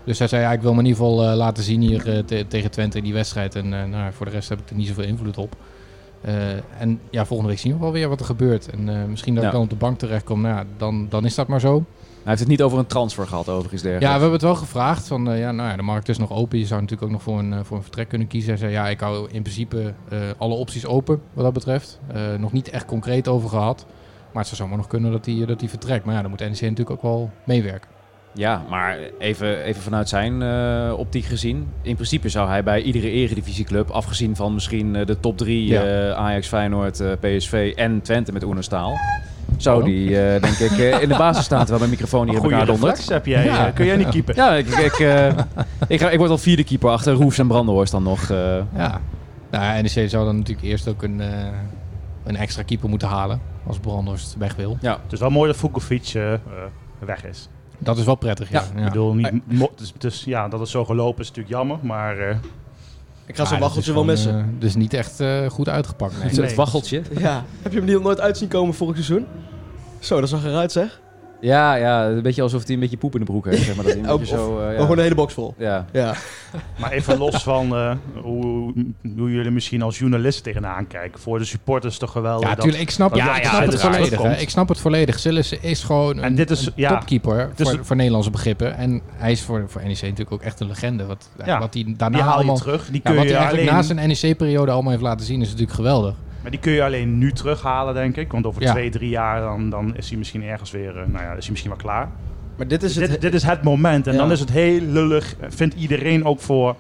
Dus hij zei, ja, ik wil me in ieder geval eh, laten zien hier eh, te- tegen Twente in die wedstrijd. En eh, nou, voor de rest heb ik er niet zoveel invloed op. Eh, en ja, volgende week zien we wel weer wat er gebeurt. En eh, misschien dat Ja. ik dan op de bank terechtkom. Nou, ja, dan, dan is dat maar zo. Hij heeft het niet over een transfer gehad, overigens. Ja, Dergelijks. we hebben het wel gevraagd. Van, eh, ja, nou ja, de markt is nog open. Je zou natuurlijk ook nog voor een, eh, voor een vertrek kunnen kiezen. Hij zei, ja, ik hou in principe eh, alle opties open wat dat betreft. Eh, nog niet echt concreet over gehad. Maar het zou zomaar nog kunnen dat hij eh, dat hij vertrekt. Maar ja, dan moet NEC natuurlijk ook wel meewerken. Ja, maar even, even vanuit zijn eh, optiek gezien. In principe zou hij bij iedere eredivisieclub, afgezien van misschien eh, de top drie, Ja. eh, Ajax, Feyenoord, eh, PSV en Twente met Oene Staal, zou Waarom? die, eh, denk ik, eh, in de basis staan terwijl mijn microfoon hier in Goeie elkaar dondert. reflex heb jij. Ja. eh. kun jij niet keeper? Ja, ik, ik, eh, ik, ga, ik word al vierde keeper achter Roefs en Brandenhorst dan nog. eh. Ja. Nou, ja, NEC zou dan natuurlijk eerst ook een, eh, een extra keeper moeten halen. Als Brandhorst weg wil. Het is wel mooi dat Vukovic eh, eh, weg is. Dat is wel prettig, ja. ja. Ik bedoel, niet, mo- dus, dus ja, dat het zo gelopen is natuurlijk jammer, maar eh, Ik ga Maar zo'n Ah, dat waggeltje is wel gewoon, missen. eh, dus niet echt eh, goed uitgepakt. Nee. het, het waggeltje. Ja. Heb je hem niet nooit uitzien komen vorig seizoen? Zo, dat zag eruit zeg. Ja, ja, een beetje alsof hij een beetje poep in de broek heeft. Zeg maar, dat hij een Ook- beetje zo, eh, Maar ja. Gewoon de hele box vol. ja. Ja. maar even los van eh, hoe, hoe jullie misschien als journalisten tegenaan kijken. Voor de supporters toch geweldig. Ja, dat- tuurlijk. Ik snap, dat- ja, ja, ik ja, snap het uiteraard. volledig. hè. Terugkomt. Ik snap het volledig. Sillissen is gewoon een, En dit is- een Dus, ja, Dus topkeeper is- voor, voor Nederlandse begrippen. En hij is voor, voor NEC natuurlijk ook echt een legende. Wat, Ja, wat hij die daarna haal je allemaal... terug. Die Ja, kun wat je hij eigenlijk alleen... na zijn NEC-periode allemaal heeft laten zien is natuurlijk geweldig. Maar die kun je alleen nu terughalen, denk ik. Want over Ja. twee, drie jaar dan, dan is hij misschien ergens weer... eh, nou ja, is hij misschien wel klaar. Maar dit is Dus het... dit, dit is het moment. En Ja. dan is het heel lullig, vindt iedereen ook voor,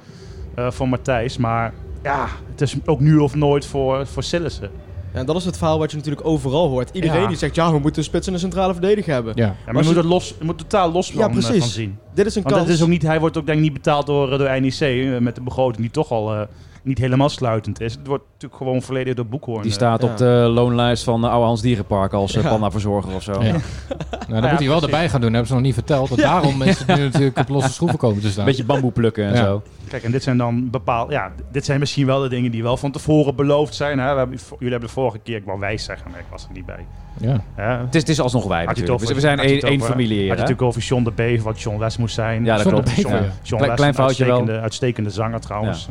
eh, voor Matthijs. Maar ja, het is ook nu of nooit voor, voor Sillissen. En dat is het verhaal wat je natuurlijk overal hoort. Iedereen Ja. die zegt, ja, we moeten een spits en een centrale verdediger hebben. Ja. Ja, maar Maar je ze- moet, het los, je moet totaal los van, Ja, eh, precies. van zien. Dit is een Want kans. het is ook niet, hij wordt ook denk ik niet betaald door, eh, door NEC eh, met de begroting die toch al eh, niet helemaal sluitend is. Het wordt natuurlijk gewoon volledig door Boekhoorn. Die eh, staat ja. op de loonlijst van de Oude Hans Dierenpark als eh, Ja. pandaverzorger of zo. Ja. Nou, dat moet hij wel precies. erbij gaan doen, hebben ze nog niet verteld. Want daarom is het nu natuurlijk op losse schroeven komen te staan. Beetje bamboe plukken en Ja. zo. Kijk, en dit zijn dan bepaald. Ja, dit zijn misschien wel de dingen die wel van tevoren beloofd zijn. Hè? We hebben, jullie hebben de vorige keer, ik wou wijs zeggen, maar ik was er niet bij. ja. Hè? Het is, het is alsnog wij Had je het natuurlijk. Dus over- we zijn had je één, het één over- familie Had hier. je hè? natuurlijk over John de Bever, wat John Les moest zijn. Ja, dat Zonder klopt. beter, John, ja. John Klein- Les, klein een foutje wel. uitstekende, uitstekende zanger trouwens.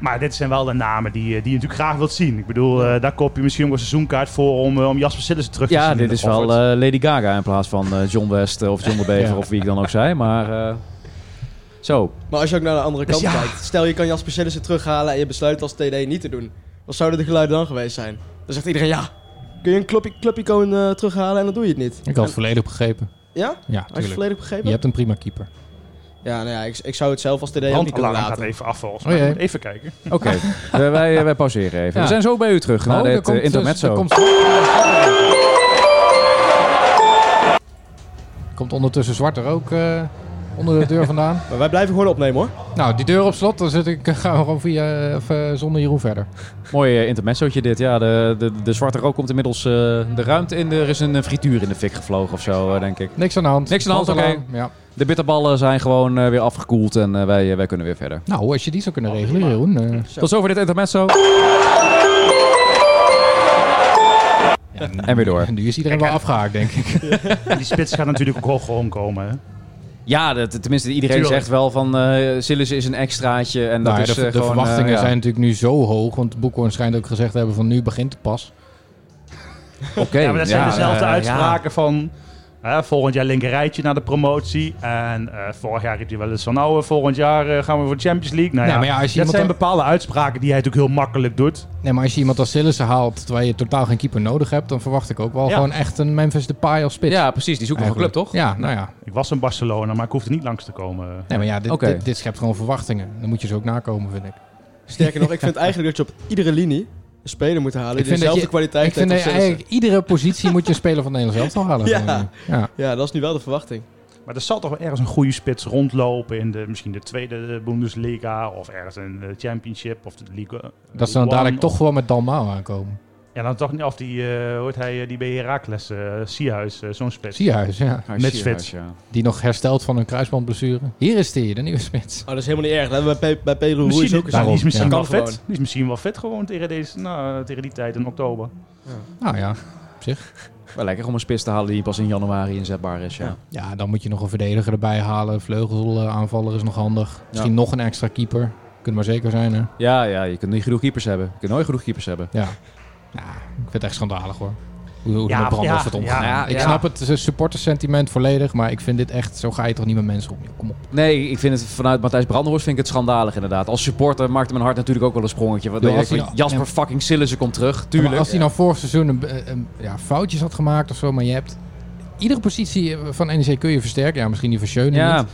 Maar dit zijn wel de namen die, eh, die je natuurlijk graag wilt zien. Ik bedoel, eh, daar koop je misschien ook een seizoenkaart voor om, eh, om Jasper Sillissen terug te zien. Ja, in dit de is wel Goffert. eh, Lady Gaga in plaats van eh, John West eh, of John de Bever Ja. of wie ik dan ook zei. Maar eh, zo, Maar als je ook naar de andere Dus kant ja. kijkt. Stel, je kan Jasper Sillissen terughalen en je besluit als TD niet te doen. Wat zouden de geluiden dan geweest zijn? Dan zegt iedereen, ja, kun je een club- clubicoon eh, terughalen en dan doe je het niet. Ik had het volledig begrepen. Ja? Ja, Had je het tuurlijk. volledig begrepen? Je hebt een prima keeper. Ja, nou ja, ik, ik zou het zelf als TD ook niet kunnen Brandalarm gaat laten. even af volgens Oh, jee. mij. Even kijken. oké. Eh, wij, wij pauzeren even. Ja. We zijn zo bij u terug na Oh, daar dit eh, komt, eh, intermezzo. daar Komt, Komt ondertussen zwart er ook eh, onder de deur vandaan. Maar wij blijven gewoon opnemen hoor. nou, die deur op slot, dan zit ik, eh, gaan we gewoon via, of, eh, zonder Jeroen verder. Mooi eh, intermezzootje dit. Ja, de, de, de zwarte rook komt inmiddels eh, de ruimte in. Er is een eh, frituur in de fik gevlogen of zo, eh, denk ik. Niks aan de hand. Niks aan de hand, Valt al oké. aan, Ja. De bitterballen zijn gewoon eh, weer afgekoeld en eh, wij, eh, wij kunnen weer verder. Nou, als je die zou kunnen regelen, Jeroen. eh, Tot zover dit intermezzo. En weer door. nu is iedereen wel afgehaakt, denk ik. En die spits gaat natuurlijk ook wel gewoon komen. Hè? Ja, dat, tenminste, iedereen Tuurlijk. zegt wel van eh Sillis is een extraatje. En dat Nou ja, is de, eh, de gewoon, eh, verwachtingen ja. zijn natuurlijk nu zo hoog. Want Boekhoorn schijnt ook gezegd te hebben van nu begint het pas. Oké, Ja, maar dat zijn ja, dezelfde eh, uitspraken van... hè, volgend jaar linkerrijtje naar de promotie. En eh, vorig jaar riep hij wel eens van... Nou, eh, volgend jaar eh, gaan we voor de Champions League. Nou, Ja, ja, maar ja, als je dat iemand zijn dan- bepaalde uitspraken die hij natuurlijk heel makkelijk doet. Nee, maar als je iemand als Sillissen haalt, terwijl je totaal geen keeper nodig hebt, dan verwacht ik ook wel Ja. gewoon echt een Memphis Depay als Ja. spits. ja, precies. Die zoeken nog een club, Eigenlijk. toch? Ja, nou ja. Ik was in Barcelona, maar ik hoefde niet langs te komen. Nee, maar ja, dit, Oké. dit, dit schept gewoon verwachtingen. Dan moet je ze ook nakomen, vind ik. Sterker nog, ik vind eigenlijk dat je op iedere linie een speler moet halen Ik die vind dat dezelfde je- kwaliteit ik heeft vind als dat Sillissen. eigenlijk iedere positie moet je een speler van Nederland zelf halen. Ja. gewoon. ja. Ja, dat is nu wel de verwachting. Maar er zal toch wel ergens een goede spits rondlopen... in de, misschien de tweede Bundesliga... of ergens in de Championship of de League eh, Dat ze dan One dadelijk of- toch gewoon met Dalmau aankomen. Ja, dan toch niet of die, eh hoort hij, eh, die bij Herakles, eh Sierhuis, eh, zo'n spits. Sierhuis, ja. Ja, Met Sierhuis, Spits. ja. Die nog herstelt van een kruisbandblessure. Hier is die, de nieuwe spits. Oh, dat is helemaal niet erg. Dat hebben we bij, Pe- bij Pedro Ruiz Misschien, ook eens nou, die is daarom, misschien ja. wel Kan vet. gewoon. Die is misschien wel vet gewoon tegen, deze, nou, tegen die tijd in oktober. Nou ja. Wel lekker om een spits te halen die pas in januari inzetbaar is, ja. Ja. Ja, dan moet je nog een verdediger erbij halen. Vleugelaanvaller is nog handig. Misschien nog een extra keeper. Kunt maar zeker zijn, hè? Ja, ja, je kunt niet genoeg keepers hebben. Je kunt nooit genoeg keepers hebben. Ja. Ja, ik vind het echt schandalig, hoor. Hoe, hoe er Ja, met Brandos ja, wordt omgegaan. ja, Nou ja, ik ja. snap het eh, supportersentiment volledig, maar ik vind dit echt... Zo ga je toch niet met mensen om, joh. Kom op. Nee, ik vind het vanuit Matthijs Brandenhorst vind ik het schandalig inderdaad. Als supporter maakte mijn hart natuurlijk ook wel een sprongetje. Want Ja, dan als denk ik, hij nou- Jasper fucking Sillissen komt terug, Maar tuurlijk. als hij nou vorig seizoen een, eh, een- ja, foutjes had gemaakt of zo, maar je hebt... Iedere positie eh, van NEC kun je versterken. Ja, misschien die van Schöne Ja, niet.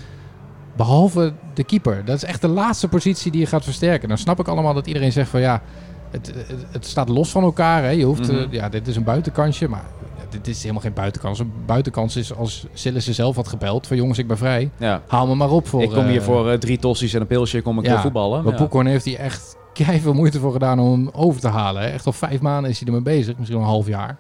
Behalve de keeper. Dat is echt de laatste positie die je gaat versterken. Dan snap ik allemaal dat iedereen zegt van ja, het, het, het staat los van elkaar. Hè. Je hoeft, eh, Mhm. ja, dit is een buitenkansje, maar dit is helemaal geen buitenkans. Een buitenkans is als Sillissen zelf had gebeld van jongens, ik ben vrij. ja. Haal me maar op voor... ik kom hier eh, voor eh, drie tossies en een pilsje, kom ik Ja, eh, voetballen. Want Ja. Boekhorn heeft hij echt veel moeite voor gedaan om hem over te halen. Hè. Echt al vijf maanden is hij ermee bezig. Misschien wel een half jaar.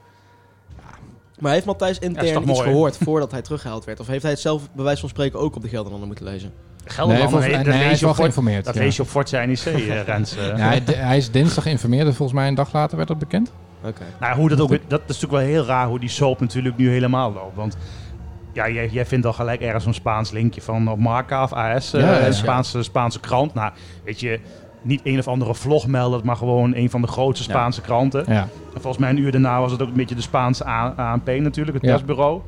Maar heeft Matthijs intern Ja, is iets toch mooi. gehoord voordat hij teruggehaald werd? Of heeft hij het zelf bij wijze van spreken ook op de Gelderlander moeten lezen? Gelderland, volgens- nee, nee, dat hij lees is je op wel Fort- geïnformeerd. dat ja. lees je op Fortse NEC, eh, Rens. eh. Ja, hij, hij is dinsdag geïnformeerd en volgens mij een dag later werd dat bekend. Oké. Nou, hoe dat, ook, dat is natuurlijk wel heel raar hoe die soap natuurlijk nu helemaal loopt. Want ja, jij, jij vindt al gelijk ergens een Spaans linkje van op Marca of AS, eh, Ja, ja, ja. een Spaanse, Spaanse krant. Nou, weet je, niet een of andere vlogmelder, maar gewoon een van de grootste Ja. Spaanse kranten. Ja. En Volgens mij een uur daarna was het ook een beetje de Spaanse A- ANP natuurlijk, het Ja. persbureau.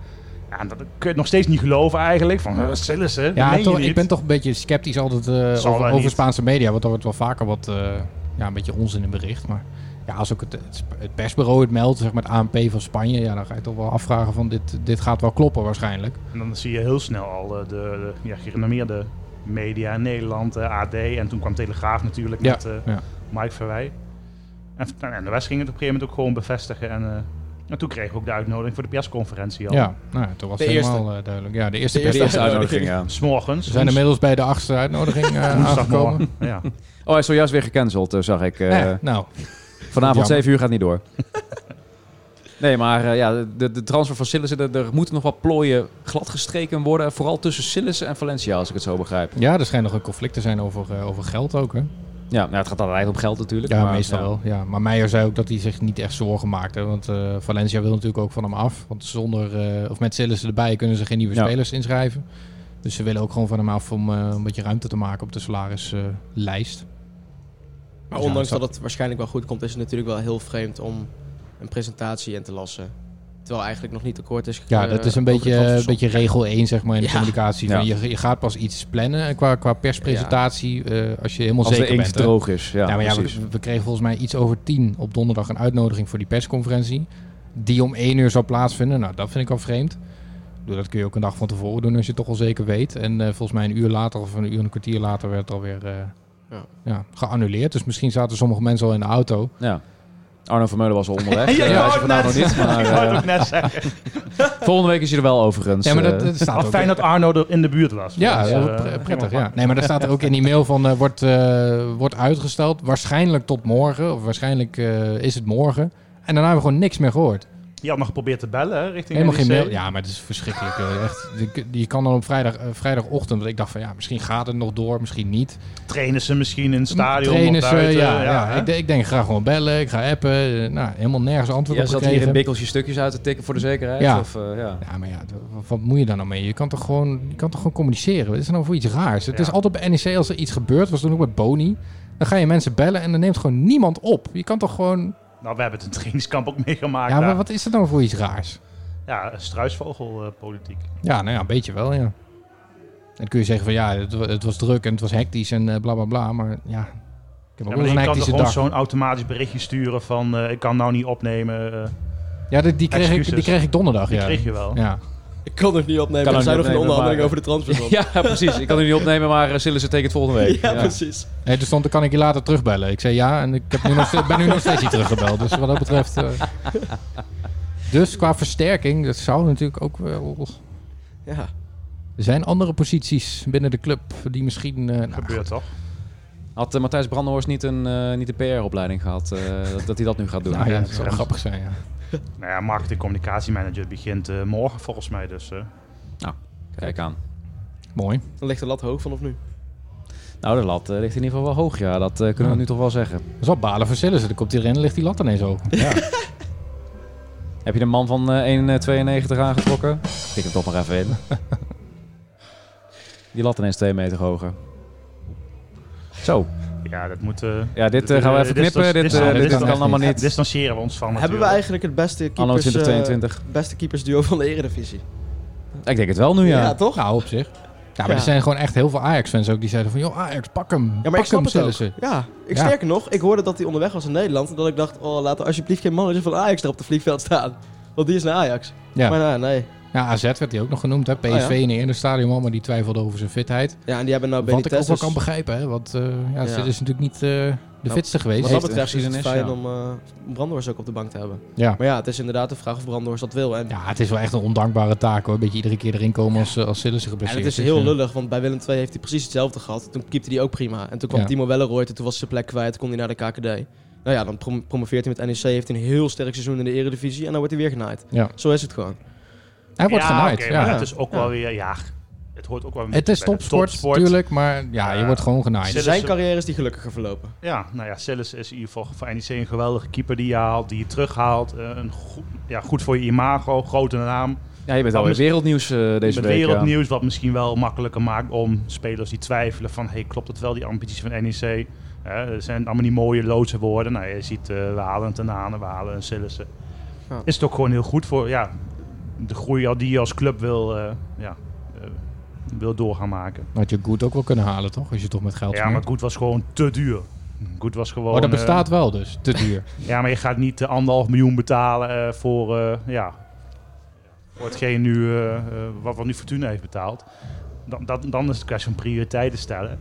Ja, en dat kun je het nog steeds niet geloven eigenlijk. Van, eh, Sillissen, dat Ja, meen je toch, niet. ik ben toch een beetje sceptisch altijd eh, Zal over, wel over niet. Spaanse media, want daar wordt wel vaker wat eh, ja, een beetje onzin in bericht. Maar ja, als ook het, het sp- het persbureau het meldt, zeg maar het ANP van Spanje, ja, dan ga je toch wel afvragen van dit, dit gaat wel kloppen waarschijnlijk. En dan zie je heel snel al eh, de, de ja, gerenommeerde media in Nederland, eh, AD. En toen kwam Telegraaf natuurlijk Ja, met eh, ja. Mike Verwij. En, nou, en de rest ging het op een gegeven moment ook gewoon bevestigen. En, eh, en toen kregen we ook de uitnodiging voor de persconferentie al. Ja, nou, ja, toen was De het eerste. helemaal eh, duidelijk. Ja, de eerste De De pers. eerste uitnodiging, ja. S'morgens. We zijn woens- inmiddels bij de achtste uitnodiging eh, aangekomen. woensdagmorgen. Ja. Oh, hij is zojuist weer gecanceld, eh, zag ik. eh, Eh, nou, Vanavond Jammer. 7 uur gaat niet door. Nee, maar eh, ja, de, de transfer van Sillissen, er, er moeten nog wat plooien gladgestreken worden. Vooral tussen Sillissen en Valencia, als ik het zo begrijp. ja, er schijnt nog een conflict te zijn over, eh, over geld ook. Hè? Ja, nou, het gaat altijd om geld natuurlijk. Ja, maar, meestal ja. wel. Ja. Maar Meijer zei ook dat hij zich niet echt zorgen maakte. Want eh, Valencia wil natuurlijk ook van hem af. Want zonder, eh, of met Sillissen erbij kunnen ze geen nieuwe Ja. spelers inschrijven. Dus ze willen ook gewoon van hem af om eh, een beetje ruimte te maken op de salarislijst. Maar Ja, ondanks dat- dat het waarschijnlijk wel goed komt, is het natuurlijk wel heel vreemd om een presentatie in te lassen. Terwijl eigenlijk nog niet akkoord is ja, eh, dat is een over de beetje, een transfersom. beetje regel 1 zeg maar, in de Ja. communicatie. Van, Ja. je, je gaat pas iets plannen eh, qua, qua perspresentatie eh, als je helemaal Als de zeker inkt bent. hè. droog is. Ja, Ja, Nou, maar ja, precies. we, we kregen volgens mij iets over tien op donderdag een uitnodiging voor die persconferentie. Die om één uur zou plaatsvinden. Nou, dat vind ik al vreemd. Ik bedoel, Dat kun je ook een dag van tevoren doen als je het toch al zeker weet. En eh, volgens mij een uur later of een uur en een kwartier later werd het alweer eh Ja. ja. geannuleerd. Dus misschien zaten sommige mensen al in de auto. ja. Arno Vermeulen was al onderweg. Ja, Eh, hij ja, is er ook vandaag nog net. niet, maar Ik wou het eh, ook net zeggen. volgende week is hij er wel overigens. Ja, maar dat, eh. dat staat Wat ook fijn dat Arno er in de buurt was. Ja, Dus, dat eh, is wel pre- prettig. helemaal Ja. Nee, maar daar staat er ook in die mail van eh, wordt, eh, wordt uitgesteld. Waarschijnlijk tot morgen. Of waarschijnlijk eh, is het morgen. En daarna hebben we gewoon niks meer gehoord. Je had nog geprobeerd te bellen hè, richting E Helemaal geen NEC. mail. Ja, maar het is verschrikkelijk. joh. Echt, je, je kan dan op vrijdag, eh, vrijdagochtend. Want ik dacht van ja, misschien gaat het nog door, misschien niet. Trainen ze misschien in het stadion Trainen of ze, buiten. ja, ja. hè? Ik, de- ik denk, ik ga gewoon bellen, ik ga appen. Eh, Nou, helemaal nergens antwoord Jij op zat hier in gekregen. bikkeltje stukjes uit te tikken voor de zekerheid? Ja. Of, eh, ja. Ja, maar ja, d- wat- wat moet je daar nou mee? Je kan toch gewoon, je kan toch gewoon communiceren? Wat is er nou voor iets raars? Het Ja. is altijd bij NEC als er iets gebeurt, was toen ook bij Boni. Dan ga je mensen bellen en dan neemt gewoon niemand op. Je kan toch gewoon... Nou, we hebben het in het trainingskamp ook meegemaakt. Ja, daar. maar wat is er nou voor iets raars? Ja, struisvogelpolitiek. Ja, nou ja, een beetje wel, ja. En dan kun je zeggen van ja, het, wa- het was druk en het was hectisch en eh, bla bla bla. Maar ja, ik heb Ja, ook maar wel eens je een kan hectische toch ons dag. zo'n automatisch berichtje sturen van... eh, ik kan nou niet opnemen. eh Ja, die, die, kreeg ik, die excuses. kreeg ik donderdag, die ja. kreeg je wel. Ja. Ik kan het niet opnemen. Kan er ook zijn niet nog opnemen, een onderhandeling maar- over de transfer. ja, precies. Ik kan het niet opnemen, maar uh, Sillissen tekent volgende week. ja, precies. Nee, toen stond, dan kan ik je later terugbellen. Ik zei ja en ik heb nu nog, steeds- ben nu nog steeds niet teruggebeld. Dus wat dat betreft... eh. Dus qua versterking, dat zou natuurlijk ook wel... Ja. Er zijn andere posities binnen de club die misschien... eh, nou, Gebeurt toch? Had eh, Matthijs Brandenhorst niet een, eh, niet een PR-opleiding gehad, eh, dat, dat hij dat nu gaat doen? nou ja, Ja, dat zou ja. grappig zijn, ja. Nou ja, marketing en communicatiemanager begint eh, morgen volgens mij dus. eh. Kijk aan. Mooi. Dan ligt de lat hoog vanaf nu. Nou, de lat eh, ligt in ieder geval wel hoog, ja. Dat eh, kunnen we Ja. nu toch wel zeggen. Dat is wel balen voor Sillissen. Dan komt hij erin en ligt die lat ineens open. Heb je de man van eh 1,92 aangetrokken? Tik hem toch maar even in. Die lat ineens 2 meter hoger. Zo. Ja, dat moet... eh, Ja, dit eh, gaan we even distance- knippen. Dit, eh, distance- dit dit- kan allemaal distance- niet. Distancieren we ons van Hebben we natuurlijk. eigenlijk het beste Anno keepers, 2022. eh, beste keepersduo van de Eredivisie? Ik denk het wel nu, ja. toch? Nou, op zich. Ja, maar Ja. er zijn gewoon echt heel veel Ajax-fans ook die zeiden van... joh, Ajax, pak hem. Ja, maar pak ik snap hem, het ook. Sillissen. Ja, ik Ja. sterker nog, ik hoorde dat hij onderweg was in Nederland. En dat ik dacht, oh, laat er alsjeblieft geen manager van Ajax er op het vliegveld staan. Want die is naar Ajax. Ja. Maar nou, nee. Ja, AZ werd hij ook nog genoemd. Hè? PSV Ah, ja. in eerder stadium al, maar die twijfelde over zijn fitheid. Ja, en die hebben nou Wat ik ook Benitez. wel dus kan begrijpen, hè? want eh, ja, Ja. het is natuurlijk niet eh, de Nou, fitste Wat geweest. dat heeft betreft een is het geschiedenis, fijn om eh Brandhorst ook op de bank te hebben. Ja. Maar ja, het is inderdaad de vraag of Brandhorst dat wil. En, ja, het is wel echt een ondankbare taak hoor. Beetje iedere keer erin komen als, eh, als Sillissen en geblesseerd het is heel eh, lullig, want bij Willem II heeft hij precies hetzelfde gehad. Toen keepte hij ook prima. En toen kwam Ja. Timo Welleroyd en toen was zijn plek kwijt. Kon hij naar de KKD. Nou ja, dan prom- promoveert hij met NEC. Heeft hij een heel sterk seizoen in de Eredivisie. En dan wordt hij weer genaaid. Ja. Zo is het gewoon. Hij wordt ja, genaaid. oké, ja. maar het is ook wel weer... Ja, het hoort ook wel... Het is bij de topsport, natuurlijk, maar ja, je Ja. wordt gewoon genaaid. Sillissen- Zijn carrière is die gelukkiger verlopen. Ja, nou ja, Sillis is in ieder geval voor NEC een geweldige keeper die je haalt, die je terughaalt. Eh, een goed, ja, goed voor je imago, grote naam. Ja, je bent alweer wereldnieuws eh, deze Met week. ja. wereldnieuws, wat misschien wel makkelijker maakt om spelers die twijfelen van... hey, klopt het wel, die ambities van NEC? Eh, dat zijn allemaal die mooie, loze woorden. Nou, je ziet, eh, we halen een Ten Hane, we halen een Sillissen. Ja. Is het ook gewoon heel goed voor ja, de groei al die je als club wil, eh, ja, eh, wil doorgaan maken. Maar had je goed ook wel kunnen halen, toch? Als je toch met geld Ja, maar goed was gewoon te duur. Goed was gewoon... Oh, dat eh, bestaat wel dus. Te duur. ja, maar je gaat niet de anderhalf miljoen betalen eh, voor, eh, ja, voor hetgeen nu, eh, eh, wat, wat nu Fortuna heeft betaald. Dan, dat, dan is het kwestie van prioriteiten stellen.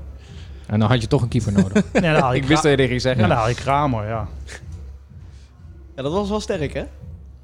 en dan had je toch een keeper nodig. Nee, dan haal je Ik wist Kra- dat je dit ging zeggen. Oh, ja, dan haal je Kramer, ja. Ja, dat was wel sterk, hè?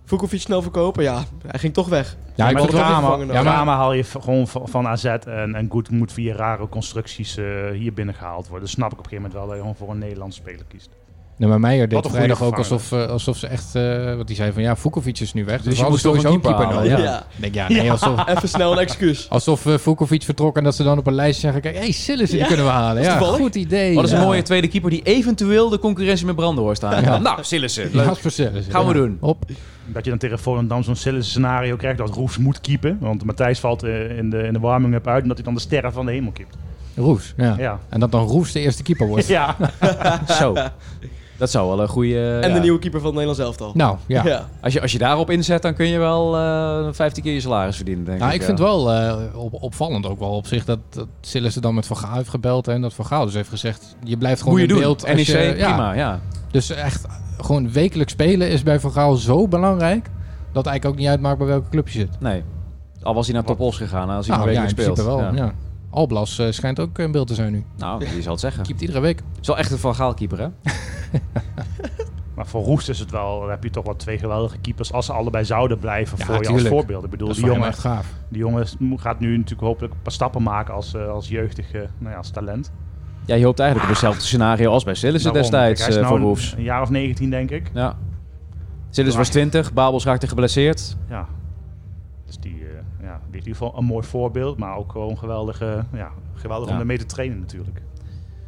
Vukovic snel verkopen, ja, hij ging toch weg. ja, ik vond maar het toch wel... raar. Kramer, vervangen dan. Ja, maar- Kramer haal je v- gewoon van, van AZ en, en Goed moet via rare constructies eh, hier binnengehaald worden. Dat snap ik op een gegeven moment wel, dat je gewoon voor een Nederlandse speler kiest. Nee, maar Meijer Wat deed een vrijdag goede ook alsof, eh, alsof ze echt... eh wat die zei van, ja, Vukovic is nu weg. Dus, je we hadden moest toch sowieso een keeper halen, nodig. Ja. Ik denk, ja, nee, alsof... Even snel een excuus. Alsof eh, Vukovic vertrok en dat ze dan op een lijst zeggen... Kijk, hé, hey, Sillissen, Ja, die kunnen we halen. dat is Ja, toevallig. goed idee. Wat is een Ja. mooie tweede keeper die eventueel de concurrentie met Brandenhorst aan. Ja. Nou, Sillissen. Ja, Leuk. Jasper Sillissen. Gaan we Ja. doen. Hop. Dat je dan tegen Volendam zo'n silly scenario krijgt dat Roefs moet keepen. Want Matthijs valt eh, in de, in de warming-up uit en dat hij dan de sterren van de hemel kipt. Roes, ja. Ja. En dat dan Roes de eerste keeper wordt. Ja. Zo. Dat zou wel een goede... En de nieuwe keeper van het Nederlands elftal. Nou, ja. Als je, als je daarop inzet, dan kun je wel eh 15 keer je salaris verdienen, denk Nou, ik. ik vind wel eh, op, opvallend ook wel op zich dat, dat Sillissen dan met Van Gaal heeft gebeld en dat Van Gaal dus heeft gezegd, je blijft gewoon Hoe je in doet. beeld. als NEC, je- ja. prima, ja. Dus echt gewoon wekelijk spelen is bij Van Gaal zo belangrijk dat het eigenlijk ook niet uitmaakt bij welke club je zit. Nee. Al was hij naar Top Os gegaan, als hij Nou, maar ja, in wekelijks principe speelt. wel. Ja. Ja. Alblas eh, schijnt ook in beeld te zijn nu. Nou, die zal het zeggen. Keept iedere week. Het is wel echt een Van Gaal keeper, hè? Maar voor Roest is het wel, dan heb je toch wel twee geweldige keepers als ze allebei zouden blijven Ja, voor je als tuurlijk. voorbeeld. Ik bedoel, Dat is die voor hem echt jongen, gaaf. die jongen is- moet- gaat nu natuurlijk hopelijk een paar stappen maken als, eh, als jeugdig, eh, nou ja, als talent. Ja, je hoopt eigenlijk op hetzelfde scenario als bij Sillissen Daarom. destijds Kijk, hij eh is voor nou Wolves. een, een jaar of 19 denk ik. Ja. Sillissen was 20, Babels raakte geblesseerd. Ja. Dus die, eh, ja, die is in ieder geval een mooi voorbeeld, maar ook gewoon geweldig, eh, ja, geweldig Ja. om ermee te trainen natuurlijk.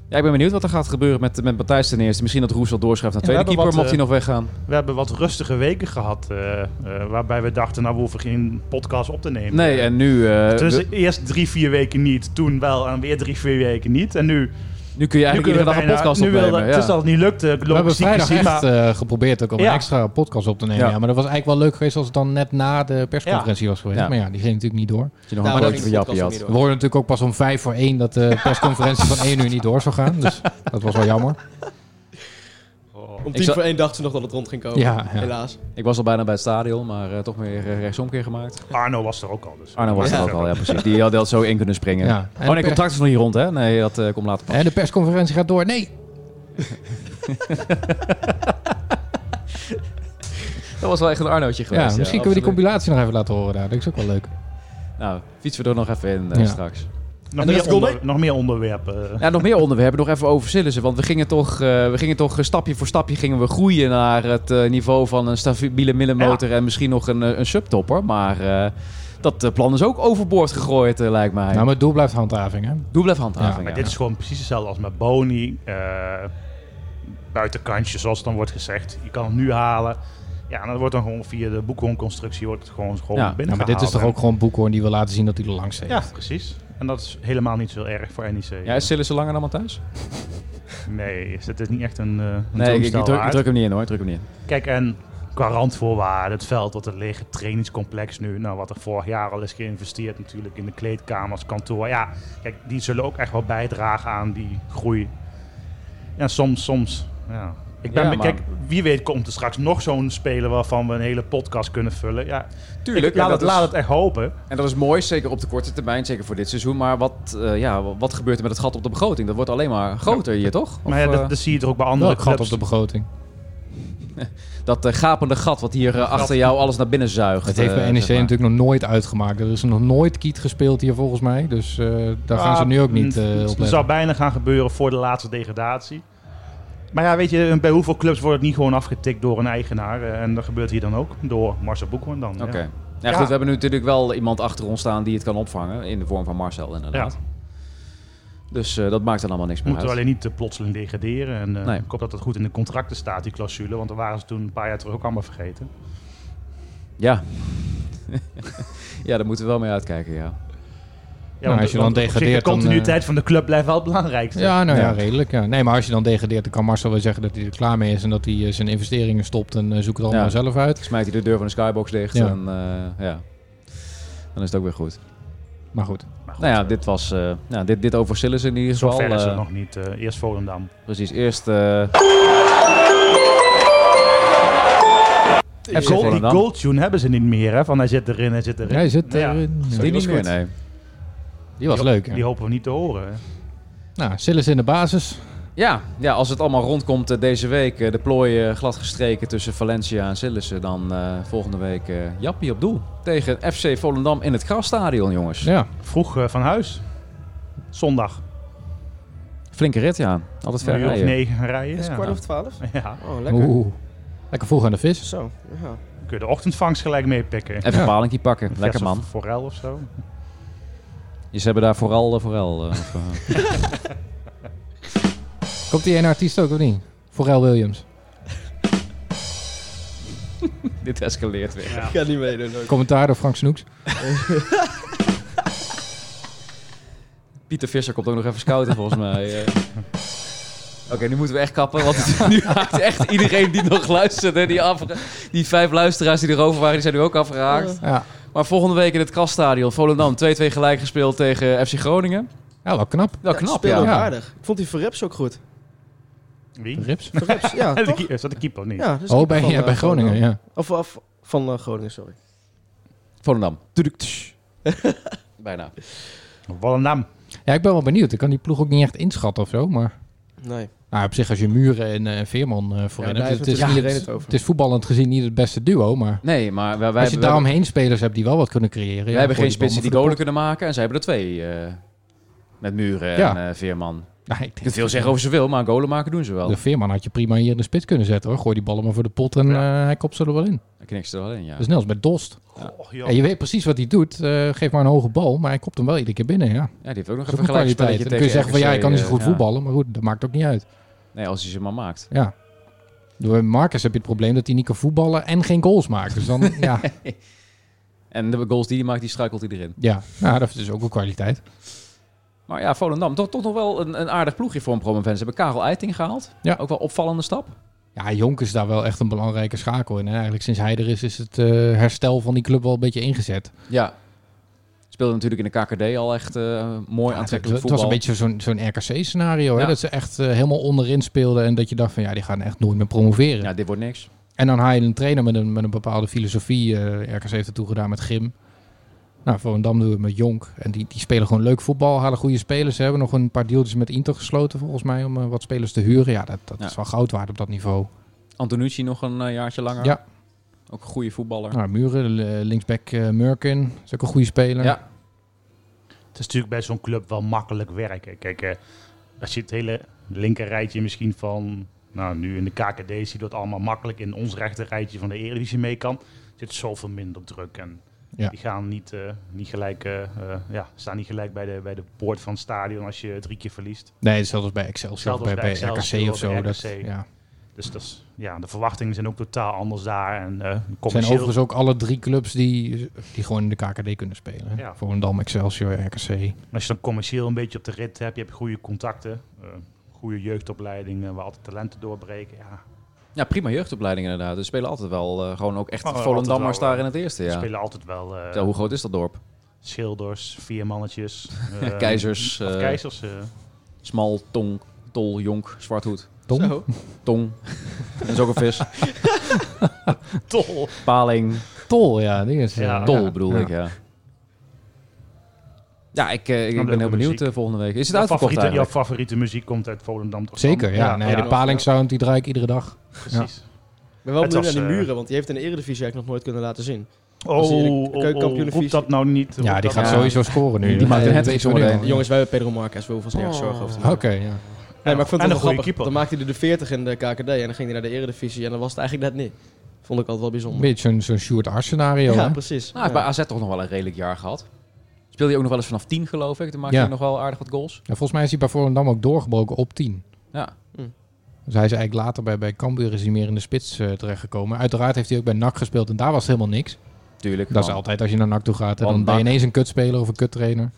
Ja, ik ben benieuwd wat er gaat gebeuren met, met Matthijs ten eerste. Misschien dat Roes wel doorschrijft naar Ja, we tweede keeper, hebben mocht hij eh, wat, nog weggaan. We hebben wat rustige weken gehad, eh, eh, waarbij we dachten, nou we hoeven geen podcast op te nemen. Nee, en nu, eh, Dus we- eerst drie, vier weken niet, toen wel en weer drie, vier weken niet. En nu nu kun je eigenlijk nu iedere kunnen dag we een bijna- podcast nu wil opnemen. dat- Het is Ja. dat het niet lukt. eh, We hebben vrijdag echt eh, geprobeerd ook al Ja. een extra podcast op te nemen. Ja. Ja. maar dat was eigenlijk wel leuk geweest als het dan net na de persconferentie was geweest. Ja. Maar ja, die ging natuurlijk niet door. Dat je nog Daarom een broodje ging van de Jappie podcast ook had. We hoorden natuurlijk ook pas om vijf voor één dat de persconferentie van één uur niet door zou gaan. Dus dat was wel jammer. Om Ik tien zal- voor één dachten ze nog dat het rond ging komen. Ja, ja. Helaas. Ik was al bijna bij het stadion, maar eh, toch meer eh, rechtsomkeer gemaakt. Arno was er ook al. Dus. Arno was er Ja. ook al, ja precies. Die had dat zo in kunnen springen. Ja. Oh nee, contract is nog niet rond hè? Nee, dat eh, komt later pas. En de persconferentie gaat door. Nee, Dat was wel echt een Arnootje geweest. ja, misschien kunnen we die compilatie nog even laten horen daar. Dat is ook wel leuk. absoluut. Nou, fietsen we er nog even in eh, Ja. straks. Nog, En meer dat kon onder- ik. nog meer onderwerpen. eh. Ja, nog meer onderwerpen, nog even over Sillissen. Want we gingen toch, eh, we gingen toch eh, stapje voor stapje gingen we groeien naar het eh, niveau van een stabiele middenmotor en misschien nog een, eh, een subtopper. Maar eh, dat eh, plan is ook overboord gegooid, eh, lijkt mij. Nou, maar het doel blijft handhaving, hè? Doe blijf handhaving. maar ja. dit is gewoon precies hetzelfde als met Boni. eh, buitenkantje, zoals dan wordt gezegd. Je kan hem nu halen. Ja, en dat wordt dan gewoon via de boekhoornconstructie wordt het gewoon, gewoon Ja, Nou, maar dit is toch ook gewoon Boekhoorn die wil laten zien dat hij er langs heeft. Ja, precies. En dat is helemaal niet zo erg voor NEC. Ja, is Sillissen langer dan Matthijs? Nee, is het is niet echt een, eh een Nee, ik- ik, drumstel druk, ik waard. druk hem niet in hoor. Ik druk hem niet in. Kijk, en qua randvoorwaarden, het veld wat er ligt, het trainingscomplex nu. Nou, wat er vorig jaar al is geïnvesteerd natuurlijk in de kleedkamers, kantoor. Ja, kijk, die zullen ook echt wel bijdragen aan die groei. Ja, soms, soms, ja. Ik ben, Ja, me- maar- Kijk, wie weet komt er straks nog zo'n speler waarvan we een hele podcast kunnen vullen. Ja, Tuurlijk, ik- ja, laat, dat het, is- laat het echt hopen. En dat is mooi, zeker op de korte termijn, zeker voor dit seizoen. Maar wat, eh, ja, wa- wat gebeurt er met het gat op de begroting? Dat wordt alleen maar groter hier, toch? maar ja, Of, eh, dat, dat zie je er ook bij Wel andere een gat Nou, op clubs. de begroting. dat eh, gapende gat wat hier eh, achter jou alles naar binnen zuigt. Het heeft eh, bij zeg NEC maar. natuurlijk nog nooit uitgemaakt. Er is nog nooit kiet gespeeld hier volgens mij. Dus eh, daar gaan ze nu ook niet eh, Ja, mm, op Ah, Het letten. zou bijna gaan gebeuren voor de laatste degradatie. Maar ja, weet je, bij hoeveel clubs wordt het niet gewoon afgetikt door een eigenaar? Eh, En dat gebeurt hier dan ook, door Marcel Boekhoorn dan. ja. Oké. Ja, Ja. goed, we hebben nu natuurlijk wel iemand achter ons staan die het kan opvangen. In de vorm van Marcel, inderdaad. Ja. Dus eh, dat maakt dan allemaal niks We meer moeten uit. alleen niet te plotseling degraderen. En eh, Nee. ik hoop dat dat goed in de contracten staat, die clausule. Want dan waren ze toen een paar jaar terug ook allemaal vergeten. Ja. ja, daar moeten we wel mee uitkijken, ja. Ja, Nou, als je dan op zich, degradeert, De dan, eh, continuïteit van de club blijft wel het belangrijkste. Ja, nou ja, Ja. redelijk. Ja. Nee, maar als je dan degradeert, dan kan Marcel wel zeggen dat hij er klaar mee is. En dat hij eh, zijn investeringen stopt en eh, zoekt het allemaal Ja. zelf uit. Smijt hij de deur van de skybox dicht Ja. en eh, ja. Dan is het ook weer goed. Maar goed. Maar goed, Nou ja, eh, dit was eh, nou, dit, dit over Sillis in ieder Zo geval. ver is het eh, nog niet. eh, eerst Volendam. Precies, eerst... eh, En FC goal, die Volendam. goaltune hebben ze niet meer, hè? Van hij zit erin, hij zit erin. Jij zit Nou ja, erin. die Die, niet was meer, goed. nee. Die was die- leuk. hè? Die hopen we niet te horen. hè. Nou, Sillis in de basis. Ja, ja, als het allemaal rondkomt eh, deze week, eh, de plooien glad gestreken tussen Valencia en Sillissen, dan eh, volgende week eh Jappie op doel tegen FC Volendam in het Grasstadion, jongens. Ja. Vroeg eh, van huis. Zondag. Flinke rit, ja. Altijd ver Een uur of rijden. negen gaan rijden. Is het ja. kwart over twaalf? Ja, Oh, lekker. Oeh. Lekker vroeg aan de vis. Zo, ja. kun je de ochtendvangst gelijk meepikken. Even een Ja. palingje pakken. Lekker man. Forel of zo. Je ze hebben daar vooral, eh, vooral. eh, of, eh, Komt die ene artiest ook of niet? Pharrell Williams. dit escaleert weer. Ik ga niet meedoen. ook. Commentaar door Frank Snoeks. Pieter Visser komt ook nog even scouten, volgens mij. eh. Oké, nu moeten we echt kappen, want het- nu haakt echt iedereen die nog luistert. hè, Die, afge- die vijf luisteraars die erover waren, die zijn nu ook afgehaakt. Eh, Ja. Maar volgende week in het Krasstadion, Volendam 2-2 gelijk gespeeld tegen FC Groningen. ja, wel Oh, knap. Wel Ja, knap, speelde ja. ook Ja. aardig. Ik vond die Verreps ook goed. Wie? Rips. Verreps, ja, Eh, de toch? keeper- Is dat de keeper of niet? Ja, Dus dat is Oh, keeper bij, van, ja, eh, bij Groningen, ja. Of, of van eh, Groningen, sorry. Volendam. Tuduk, tsch. Bijna. Volendam. Ja, ik ben wel benieuwd. Ik kan die ploeg ook niet echt inschatten of zo, maar... Nee. Nou, op zich als je Muren en eh, Veerman eh voorin Ja, daar hebt. is Het is, natuurlijk niet iedereen het, het over. het is voetballend gezien niet het beste duo, maar... Nee, maar wij, wij, als je hebben, wij daaromheen spelers hebt die wel wat kunnen creëren... ja, hebben gooi geen die bal spitsen die maar voor golen kunnen maken en zij hebben er twee. eh, met Muren Ja. en eh, Veerman. de pot. Nou, ik Je denk- kunt veel zeggen over zoveel, maar golen maken doen ze wel. De Veerman had je prima hier in de spits kunnen zetten, hoor. Gooi die ballen maar voor de pot en eh, hij kopt ze er wel in. Daar knikt ze er wel in, ja. Dus net als met Dost. Och, joh. En je weet precies wat hij doet. Eh, geef maar een hoge bal, maar hij kopt hem wel iedere keer binnen, ja. ja, die heeft ook nog Dat is even ook een gelijk kwaliteit. Dan kun je zeggen van ja, ik kan niet zo goed voetballen, maar goed, dat maakt ook niet uit. eh, Nee, als hij ze maar maakt. Ja. Door Marcus heb je het probleem dat hij niet kan voetballen en geen goals maakt. Dus dan, ja, En de goals die hij maakt, die struikelt hij erin. ja. Nou, dat is dus ook een kwaliteit. Maar ja, Volendam, toch, toch nog wel een, een aardig ploegje voor een promovens. Ze hebben Karel Eiting gehaald. Ja. Ook wel opvallende stap. Ja, Jonk is daar wel echt een belangrijke schakel in. En eigenlijk sinds hij er is, is het eh, herstel van die club wel een beetje ingezet. Ja. Speelde natuurlijk in de KKD al echt eh, mooi Ja, het, het aantrekkelijk was voetbal. een beetje zo'n zo'n RKC-scenario. Ja. Dat ze echt eh, helemaal onderin speelden en dat je dacht van ja, die gaan echt nooit meer promoveren. Ja, dit wordt niks. En dan haal je een trainer met een, met een bepaalde filosofie. eh, RKC heeft het toegedaan met Grim. Nou, Volendam doen we het met Jonk. En die, die spelen gewoon leuk voetbal, halen goede spelers. Ze hebben nog een paar deeltjes met Inter gesloten volgens mij om eh, wat spelers te huren. Ja, dat, dat Ja. is wel goud waard op dat niveau. Antonucci nog een eh, jaartje langer. Ja. Ook een goede voetballer. Nou, Muren, eh, linksback eh, Murkin, is ook een goede speler. Ja. Het is natuurlijk bij zo'n club wel makkelijk werken. Kijk, eh, als je het hele linker rijtje misschien van... Nou, nu in de KKD zie je dat allemaal makkelijk. In ons rechter rijtje van de Eredivisie mee kan. zit zoveel minder druk. En Ja. die gaan niet, eh, niet gelijk, eh, eh, ja, staan niet gelijk bij de, bij de poort van het stadion als je drie keer verliest. Nee, zelfs bij Excelsior of Hetzelfde bij, als bij bij RKC Excelsior of zo. of Dat, RKC. ja. Dus dat is, ja, de verwachtingen zijn ook totaal anders daar. En eh Het zijn commercieel... overigens ook alle drie clubs die, die gewoon in de KKD kunnen spelen. Ja. Volendam, Excelsior, RKC. Als je dan commercieel een beetje op de rit hebt, je hebt goede contacten, eh, goede jeugdopleidingen, waar altijd talenten doorbreken. Ja, Ja, prima jeugdopleiding inderdaad. Ze spelen altijd wel eh, gewoon ook echt Maar, eh, Volendammers altijd wel, daar in het eerste. Ja. spelen altijd wel eh, Tel, hoe groot is dat dorp? schilders, viermannetjes. eh, Keizers, of eh, keizers, eh. Smal, Tong, Tol, Jonk, Zwarthoed, Tom? Zo. Tong. dat is ook een vis. Tol! Paling, Tol, ja. Die is, Ja. eh, Tol ja. bedoel Ja. ik, ja. Ja, ik, eh, ik Nou, ben heel leuke benieuwd muziek. eh, volgende week. Is het Jouw uitverkocht favoriete, jouw eigenlijk? favoriete muziek komt uit Volendam toch? Zeker, ja. Ja, nee, ja. de palingsound die draai ik iedere dag. Precies. Ik ben wel Het benieuwd naar was, die eh, muren, want die heeft in de Eredivisie eigenlijk nog nooit kunnen laten zien. Oh, Als je de oh, oh, keukenkampioenenvisie- roep dat nou niet. Ja, roep die dat gaat nou zo- niet. sowieso scoren nu. Die Ja, maakt een dat hat-trick weten we nu zometeen. al. Jongens, wij hebben Pedro Marquez, we hoeven ons nergens zorgen over te Oké, ja. maken. Nee, maar ik vond En het een wel goede grappig. keeper. Dan maakte hij er de 40 in de KKD en dan ging hij naar de Eredivisie en dan was het eigenlijk net niet. Vond ik altijd wel Een bijzonder. beetje zo'n zo'n Sjoerd Ars scenario. ja, hè? precies. Nou, hij heeft bij ja. AZ toch nog wel een redelijk jaar gehad. Speelde hij ook nog wel eens vanaf 10 geloof ik. Dan maakte Ja. hij nog wel aardig wat goals. Ja, volgens mij is hij bij Volendam ook doorgebroken op 10. Ja. Dus hij is eigenlijk later bij, bij Cambuur is hij meer in de spits eh, terechtgekomen. Uiteraard heeft hij ook bij NAC gespeeld en daar was het helemaal niks. Tuurlijk. Dat is want altijd als je naar NAC toe gaat. En Want dan ben je NAC- ineens een kutspeler of een kuttrainer.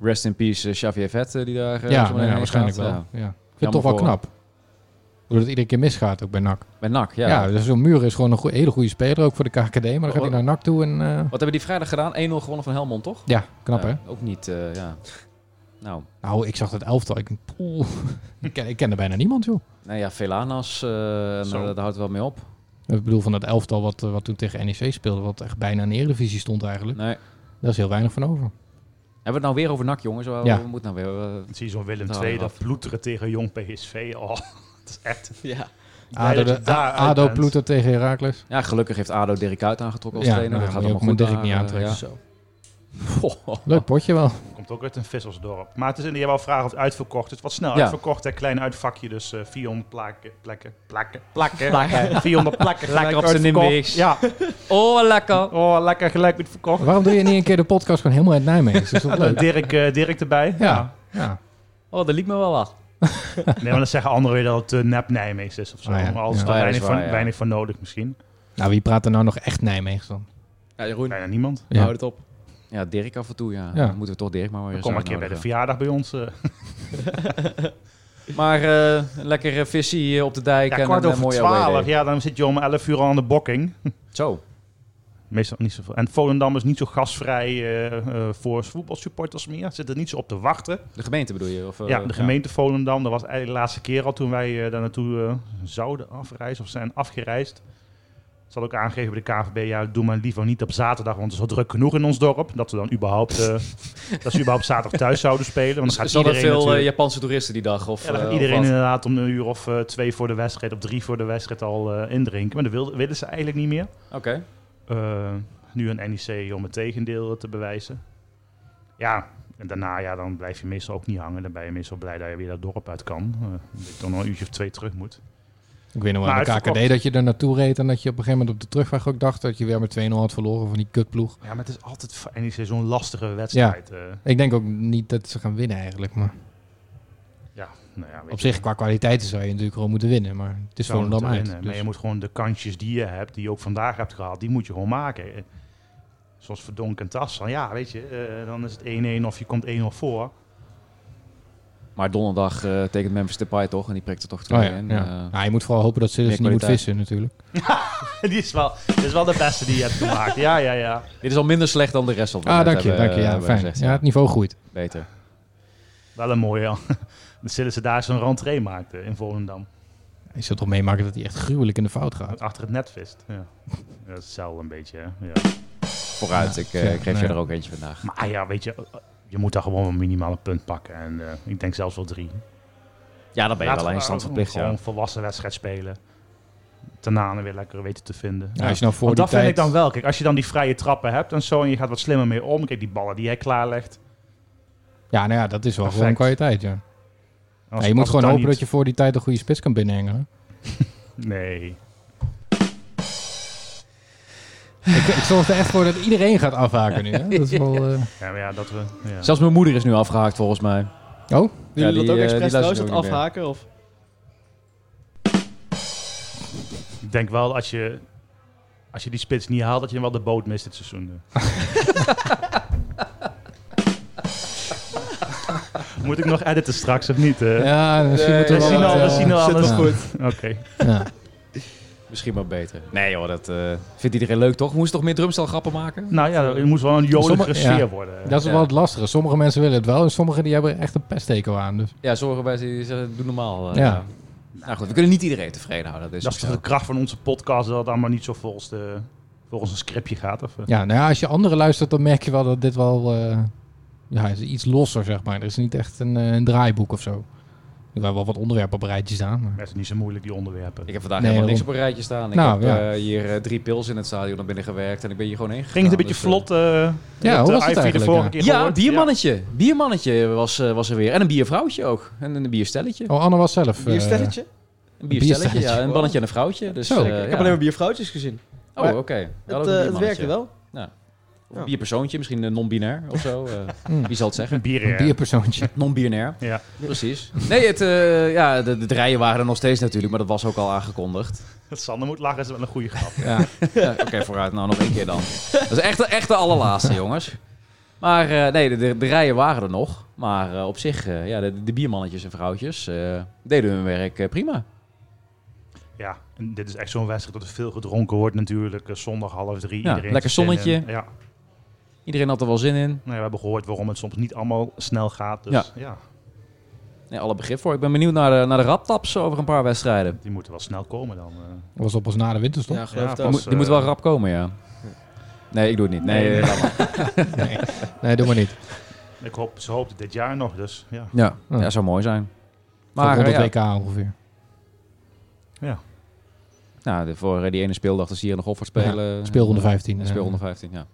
Rest in peace eh, Xavier Vet eh, die daar eh, zo ja, meteen nou ja, heen waarschijnlijk gaat. wel. Ja. Ja. Ik vind het Jammer toch wel voor hem. knap. Doordat het iedere keer misgaat, ook bij NAC. Bij NAC, ja. Ja, dus zo'n muur is gewoon een goe- hele goede speler, ook voor de KKD. Maar dan gaat hij naar NAC toe en... eh, Wat hebben die vrijdag gedaan? 1-0 gewonnen van Helmond, toch? ja, knap Ja, hè? Ook niet, eh, ja. Nou, Nou, ik zag dat elftal. Ik, denk, poeh, ik, ken, ik kende bijna niemand, joh. nou ja, Velanas, eh nou, Zo. daar houdt het wel mee op. Ik bedoel, van dat elftal wat, eh, wat toen tegen NEC speelde, wat echt bijna in de Eredivisie stond eigenlijk. Nee. Daar is heel weinig van over. Hebben we het nou weer over NAC, jongens? We Ja. we moeten nou weer... eh, Dan zie je zo'n Willem Nou, II dat Raf. ploeteren tegen jong PSV. Oh, dat is echt... Ja. blij ADO, dat je de- daaruit ADO bent. ploetert tegen Heracles. ja, gelukkig heeft ADO Dirk uit aangetrokken als Ja, trainer. nou, dat gaat moet je allemaal ook goed met Dirk niet daar, aantrekken. eh, ja. Zo. Oh, Leuk potje wel. Komt ook uit een vissersdorp. Maar het is in de vraag of het uitverkocht. is. Het was snel Ja. uitverkocht, hè. klein uitvakje. Dus eh 400 plakken, plekken, plakken, plakken. Plakken. 400 plakken. gelijk Lekker op z'n uitverkocht. Nimbics. Ja, Oh, lekker. oh, lekker gelijk met verkocht. Waarom doe je niet een keer de podcast gewoon helemaal uit Nijmegen? Dat is toch leuk? Dirk, eh, Dirk erbij. Ja. ja. Oh, dat liep me wel wat. Nee, maar dan zeggen anderen weer dat het eh, nep Nijmeegs is of zo. Ah, ja. Maar alles Ja. daar Ah, ja, dat is weinig, van, waar, ja. weinig van nodig misschien. Nou, wie praat er nou nog echt Nijmegen dan? Nou, Ja, Jeroen, Bijna niemand. Ja. hou het op. Ja, Dirk af en toe, ja. Ja. Dan moeten we toch Dirk maar weer eens Kom maar een keer bij de uitnodigen. verjaardag bij ons. eh. Maar eh, een lekkere visie eh, op de dijk ja, en kwart een eh, over mooie twaalf. away day. Ja, dan zit je om 11 uur al aan de bokking. Zo. Meestal niet zoveel. En Volendam is niet zo gasvrij eh, eh, voor voetbalsupporters meer. Zit er niet zo op te wachten. De gemeente bedoel je? Of, eh, ja, de gemeente Volendam. Dat was eigenlijk de laatste keer al toen wij eh, daar naartoe eh, zouden afreizen of zijn afgereisd. Ik zal ook aangeven bij de KVB, ja, doe maar liever niet op zaterdag, want het is al druk genoeg in ons dorp. Dat we dan überhaupt, eh, dat ze überhaupt zaterdag thuis zouden spelen. Want dan gaat Zijn er iedereen, veel eh, natuurlijk- Japanse toeristen die dag? Of, ja, dan gaat eh, iedereen of wat? inderdaad om een uur of eh, twee voor de wedstrijd, of drie voor de wedstrijd al eh, indrinken. Maar dat wilden- willen ze eigenlijk niet meer. Oké. Eh, nu een NEC om het tegendeel te bewijzen. Ja, en daarna ja, dan blijf je meestal ook niet hangen. Dan ben je meestal blij dat je weer dat dorp uit kan. Eh, dat je dan nog een uurtje of twee terug moet. Ik weet nog wel Maar aan de KKD uitverkocht. dat je er naartoe reed en dat je op een gegeven moment op de terugweg ook dacht dat je weer met 2-0 had verloren van die kutploeg. Ja, maar het is altijd voor NEC zo'n lastige wedstrijd. eh. Ja, Ik denk ook niet dat ze gaan winnen eigenlijk, maar ja nou ja, weet op je, zich qua kwaliteiten zou je natuurlijk gewoon moeten winnen, maar het is zou moeten Volendam uit. winnen. Maar dus- je moet gewoon de kansjes die je hebt, die je ook vandaag hebt gehad, die moet je gewoon maken. Eh, Zoals Verdonk en Tassan. Ja, weet je, eh, dan is het 1-1 of je komt 1-0 voor. Maar donderdag eh, tekent Memphis Depay toch? En die prikt er toch twee Oh ja, in. ja. eh. Nou, je moet vooral hopen dat ze dus meer niet moet kwaliteit. vissen natuurlijk. die is wel, dat is wel de beste die je hebt gemaakt. Ja, ja, ja. dit is al minder slecht dan de rest. wat we Ah, net dank je, hebben, dank je. eh, Ja, hebben fijn. gezegd, Ja, het niveau groeit. Beter. Wel een mooie. ja. Dan zullen ze daar zo'n rentree maakten in Volendam. Je zult toch meemaken dat hij echt gruwelijk in de fout gaat. Achter het net vist. Ja. Dat is hetzelfde een beetje. Hè? Ja. Vooruit. Ik, eh, ja, ik geef nou je ja. er ook eentje vandaag. Maar ah, ja, weet je, je moet daar gewoon een minimale punt pakken. En eh, ik denk zelfs wel drie. Ja, dan ben je Laten wel we een stand verplicht. Gewoon Ja. een volwassen wedstrijd spelen. Tanane weer lekker weten te vinden. Nou, als je nou voor Want die dat tijd... vind ik dan wel. Kijk, als je dan die vrije trappen hebt en zo en je gaat wat slimmer mee om. Kijk, die ballen die hij klaarlegt. Ja, nou ja, dat is wel Perfect. gewoon kwaliteit, ja. Als- Ja, je als moet gewoon dan hopen niet- dat je voor die tijd een goede spits kan binnenhangen. Nee. ik, ik zorg er echt voor dat iedereen gaat afhaken nu. Hè? Dat is wel, eh, Ja, maar ja, dat we... Ja. Zelfs mijn moeder is nu afgehaakt volgens mij. Oh, Doen jullie die, dat ook eh, expres die trouwens, luistert dat ook niet meer. afhaken? Of? Ik denk wel als je, als je die spits niet haalt, dat je wel de boot mist dit seizoen. dus. Moet ik nog editen straks of niet? eh? ja, misschien Nee, moeten we we zien wel... al, wat, we eh, zien al zitten. alles Ja. goed. Oké. Ja. Misschien wel beter. Nee joh, dat eh, vindt iedereen leuk toch? Moest toch meer drumstelgrappen maken? Nou ja, het moest wel een joligere Sommige- sfeer ja. worden. Dat is Ja. wel het lastige. Sommige mensen willen het wel en sommigen die hebben er echt een pestteken aan. Dus. Ja, zorgen bij ze die zeggen, doe normaal. eh, Ja. ja. Nou goed, we kunnen niet iedereen tevreden houden. dus, eh, Dat is, Dat ook is toch de zo. kracht van onze podcast, dat het allemaal niet zo volgens, de, volgens een scriptje gaat. Of, eh? Ja, nou ja, als je anderen luistert, dan merk je wel dat dit wel... eh, ja, is iets losser, zeg maar. Er is niet echt een, eh, een draaiboek of zo. Er zijn wel wat onderwerpen op rijtjes aan. Maar... Mensen niet zo moeilijk, die onderwerpen. Ik heb vandaag Nee, helemaal niks op daarom. een rijtje staan. Ik Nou, heb ja. eh, hier eh, drie pils in het stadion naar binnen gewerkt en ik ben hier gewoon heen gegaan. Ging het een beetje Dus, eh, vlot? eh Ja, dat, hoe eh, was het Ivy de eigenlijk, vorige ja? keer Ja, gehoord? biermannetje. Biermannetje was, eh, was er weer. En een biervrouwtje ook. En een bierstelletje. Oh, Anne was zelf... eh, Bierstelletje? Een bierstelletje, bierstelletje. ja. Een mannetje en een vrouwtje. Dus, Zo, eh, ik Ik ja. heb alleen maar biervrouwtjes gezien. Oh, oké. Okay. Het, eh, het werkte wel. ja. Bierpersoontje, misschien een non-binair of zo. eh, Mm. wie zal het zeggen? Een bier, eh, Een ja. bierpersoontje. Non-binair. Ja. Precies. Nee, het, eh, ja, de, de rijen waren er nog steeds natuurlijk, maar dat was ook al aangekondigd. Sander moet lachen, is wel een goede grap. Ja. Ja, Oké, vooruit. Nou, nog één keer dan. Dat is echt, de- echt de allerlaatste, jongens. Maar eh, nee, de, de, de rijen waren er nog. Maar eh, op zich, eh, ja, de, de biermannetjes en vrouwtjes eh, deden hun werk eh, prima. Ja, en dit is echt zo'n wedstrijd dat er veel gedronken wordt natuurlijk. Eh, Zondag half drie. Ja, iedereen lekker zit in. zonnetje. Ja, Iedereen had er wel zin in. nou ja, we hebben gehoord waarom het soms niet allemaal snel gaat. Dus Ja. ja, Nee, alle begrip voor. Ik ben benieuwd naar de, naar de raptaps over een paar wedstrijden. die moeten wel snel komen dan. eh. Dat was op ons na de winterstop. Ja, geloof Ja, het Die, wel. pas. moet, die moet wel rap komen, ja. Nee, ik doe het niet. eh, Nee, eh, Nee, doe maar niet. Ik hoop, ze hoopt het dit jaar nog, dus ja. Ja, Ja. ja, zou mooi zijn. Maar Maar rond eh, het ja, WK ongeveer. nou, de- voor eh, die ene speeldag dat ze hier in de Goffert spelen. Speelronde 15. Ja, eh. speelronde 15, ja.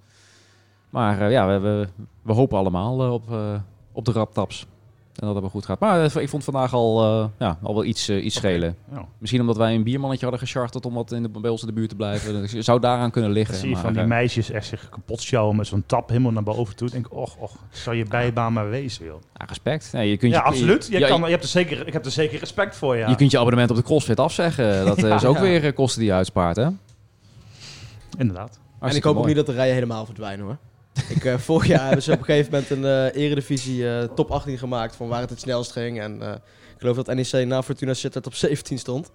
Maar eh, ja, we, we, we hopen allemaal eh, op, eh, op de raptaps. En dat het wel goed gaat. Maar eh, ik vond vandaag al, eh, ja, al wel iets, eh, iets schelen. ja. Misschien omdat wij een biermannetje hadden gecharterd om wat in de, bij ons in de buurt te blijven. Dus je zou daaraan kunnen liggen. Dan zie je maar, van die eh, meisjes echt zich kapot sjouwen met zo'n tap helemaal naar boven toe. Denk ik, och, och, zou je bijbaan maar wezen, joh. ja, respect. Nee, je kunt Ja, je, absoluut. Je, ja, kan, je- je hebt er zeker, ik heb er zeker respect voor, ja. Je kunt je abonnement op de CrossFit afzeggen. Dat eh, is ook weer eh, kosten die je uitspaart, hè? Inderdaad. En ik hoop ook niet dat de rijen helemaal verdwijnen hoor. ik, eh, vorig jaar hebben ze op een gegeven moment een eh, eredivisie eh, top 18 gemaakt van waar het het snelst ging. En eh, ik geloof dat NEC na Fortuna Sittard op 17 stond.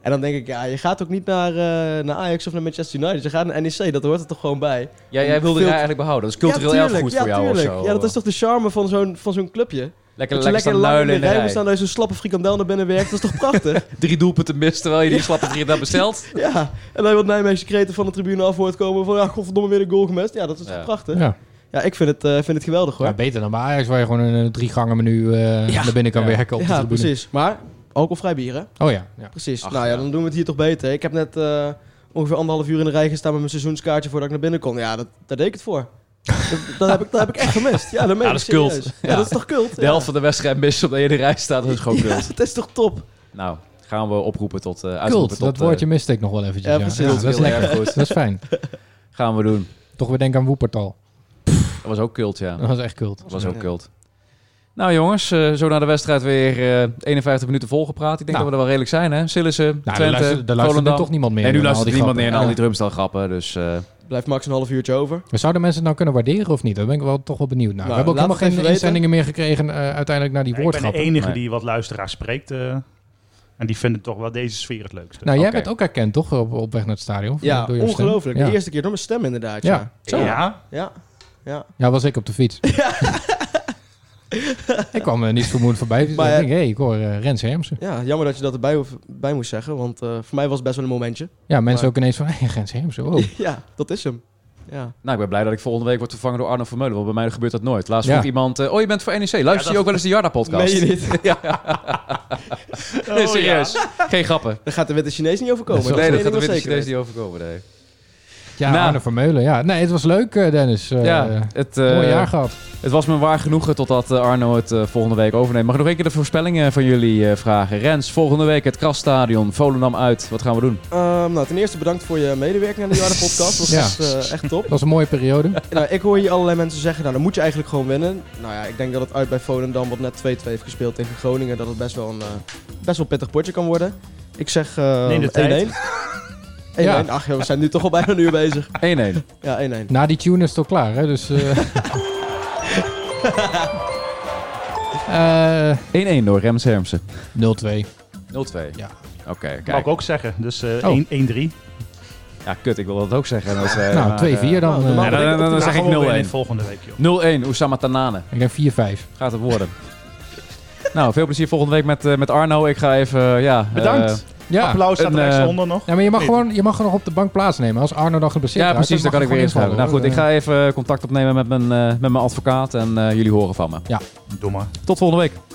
En dan denk ik, ja, je gaat ook niet naar, eh, naar Ajax of naar Manchester United. Je gaat naar NEC, dat hoort er toch gewoon bij. Ja, jij wilde Veel- rij eigenlijk behouden. Dat is cultureel ja, erfgoed tuurlijk, voor ja, jou tuurlijk. of zo. eh. Ja, dat is toch de charme van zo'n, van zo'n clubje? Lekker, Dat je lekker lekker staan luilen lang in de in de rij moet rij. staan, dat je zo'n slappe frikandel naar binnen werkt. Dat is toch prachtig? Drie doelpunten mist terwijl je die slappe drie daar bestelt. ja. En dan wordt Nijmeegse kreten van de tribune af hoort komen van, ja, godverdomme weer een goal gemist. Ja, dat is toch Ja. prachtig? Ja, Ja. ik vind het, eh, vind het geweldig hoor. Ja, beter dan bij Ajax, waar je gewoon een eh, drie gangen menu eh, Ja. naar binnen kan Ja. werken op de ja, tribune. precies. Maar alcoholvrij bier, hè? Oh ja, ja. Precies. Ach, nou ja, ja. dan doen we het hier toch beter. Ik heb net eh, ongeveer anderhalf uur in de rij gestaan met mijn seizoenskaartje voordat ik naar binnen kon. Ja, dat, daar deed ik het voor. dat, dat heb ik, dat heb ik echt gemist. Ja, dat, meen Ja, ik dat is kult. serieus. Ja, Ja. dat is toch kult? De helft van de wedstrijd mist op de ene rij staat. Dat is gewoon ja, kult. Het is toch top? Nou, gaan we oproepen tot... eh uitroepen Kult, tot, dat eh, woordje miste ik nog wel eventjes. Ja, Ja, precies. Ja, dat is heel erg lekker. goed. Dat is fijn. Gaan we doen. Toch weer denk aan Woepertal. Dat was ook kult, ja. Dat was echt kult. Dat was ook kult. Nou jongens, eh, zo na de wedstrijd weer eh, 51 minuten volgepraat. Ik denk Nou. dat we er wel redelijk zijn, hè? Sillissen, Nou, daar Twente, luistert, daar luistert nu Volendam. toch niemand meer. en nu naar luistert al die niemand meer grappen. naar al die Ja. drumstelgrappen. Dus eh, Blijft max een half uurtje over. Maar Zouden mensen het nou kunnen waarderen of niet? Daar ben ik wel toch wel benieuwd naar. Nou, we hebben ook laat helemaal het geen even weten. inzendingen meer gekregen eh, uiteindelijk naar die Ja, ik ben de woordgrappen. enige Nee. die wat luisteraars spreekt. eh, en die vinden toch wel deze sfeer het leukste. Nou, jij Oké. werd ook herkend toch op, op weg naar het stadion? Of Ja, door jouw stem? ongelooflijk. Ja. De eerste keer door mijn stem inderdaad. Ja. Ja. Nou, Ja. Zo, ja. ja. Ja, was ik op de fiets. ik kwam eh, niet vermoedend voorbij. Dus Maar, ik eh, denk, hey, ik hoor eh, Rens Hermsen. jammer dat je dat erbij hoef- bij moest zeggen, want eh, voor mij was het best wel een momentje. Ja, mensen maar- ook ineens van, hey, Rens Hermsen, Oh. wow. ja, dat is hem. Ja. nou, ik ben blij dat ik volgende week word vervangen door Arno Vermeulen. Want bij mij gebeurt dat nooit. Laatst Ja. vroeg iemand, eh, oh je bent voor NEC. Luister je dat- ook wel eens de Jarda-podcast? Meen je niet? Nee, Oh, serieus. ja. Geen grappen. Daar gaat de witte Chinees niet overkomen. nee, dat is dat één gaat ding de wat witte zeker Chinees is. niet overkomen, nee. Ja, Nou. Arne Vermeulen. Ja, nee, het was leuk, eh, Dennis. Eh, ja, het, eh, mooi jaar gehad. het was me waar genoegen totdat eh, Arno het eh, volgende week overneemt. Mag ik nog één keer de voorspellingen van jullie eh, vragen? Rens, volgende week het Krasstadion, Volendam uit. Wat gaan we doen? Ehm, nou, ten eerste bedankt voor je medewerking aan de Jaren Podcast. Dat was Ja. echt, eh, echt top. Het was een mooie periode. Nou, ik hoor hier allerlei mensen zeggen, nou dan moet je eigenlijk gewoon winnen. Nou ja, ik denk dat het uit bij Volendam, wat net 2-2 heeft gespeeld tegen Groningen, dat het best wel een eh, best wel pittig potje kan worden. Ik zeg eh, 1-1. Neem de tijd. 1-1. Ja. Ach ja, we zijn nu toch al bijna een uur bezig. 1-1. Ja, 1-1. Na die tune is het al klaar, hè. Dus, eh, eh, 1-1 door Rems Hermsen. 0-2. 0-2. Oké, Ja. Mag kijk. ik ook zeggen. Dus eh, Oh. 1 1-3. Ja, kut, ik wil dat ook zeggen. Dat, eh, nou, maar, 2-4 dan. nou, eh, normaal- eh, dan, dan- dan Nou, zeg gewoon weer in ik 0-1. volgende week, joh. 0-1, Oussama Tanane. ik denk 4-5. Gaat het worden. nou, veel plezier volgende week met, eh, met Arno. Ik ga even, eh, ja... eh, Bedankt. Ja. Applaus staat een, er eh, rechtsonder nog. Ja, maar je mag, Nee. gewoon, je mag gewoon nog op de bank plaatsnemen. Als Arno dan geblesseerd ja, raakt, precies, dan mag kan ik je weer gewoon inschrijven. Nou goed, ik invallen, ga even eh, contact opnemen met mijn, eh, met mijn advocaat en eh, jullie horen van me. Doe maar. Tot volgende week.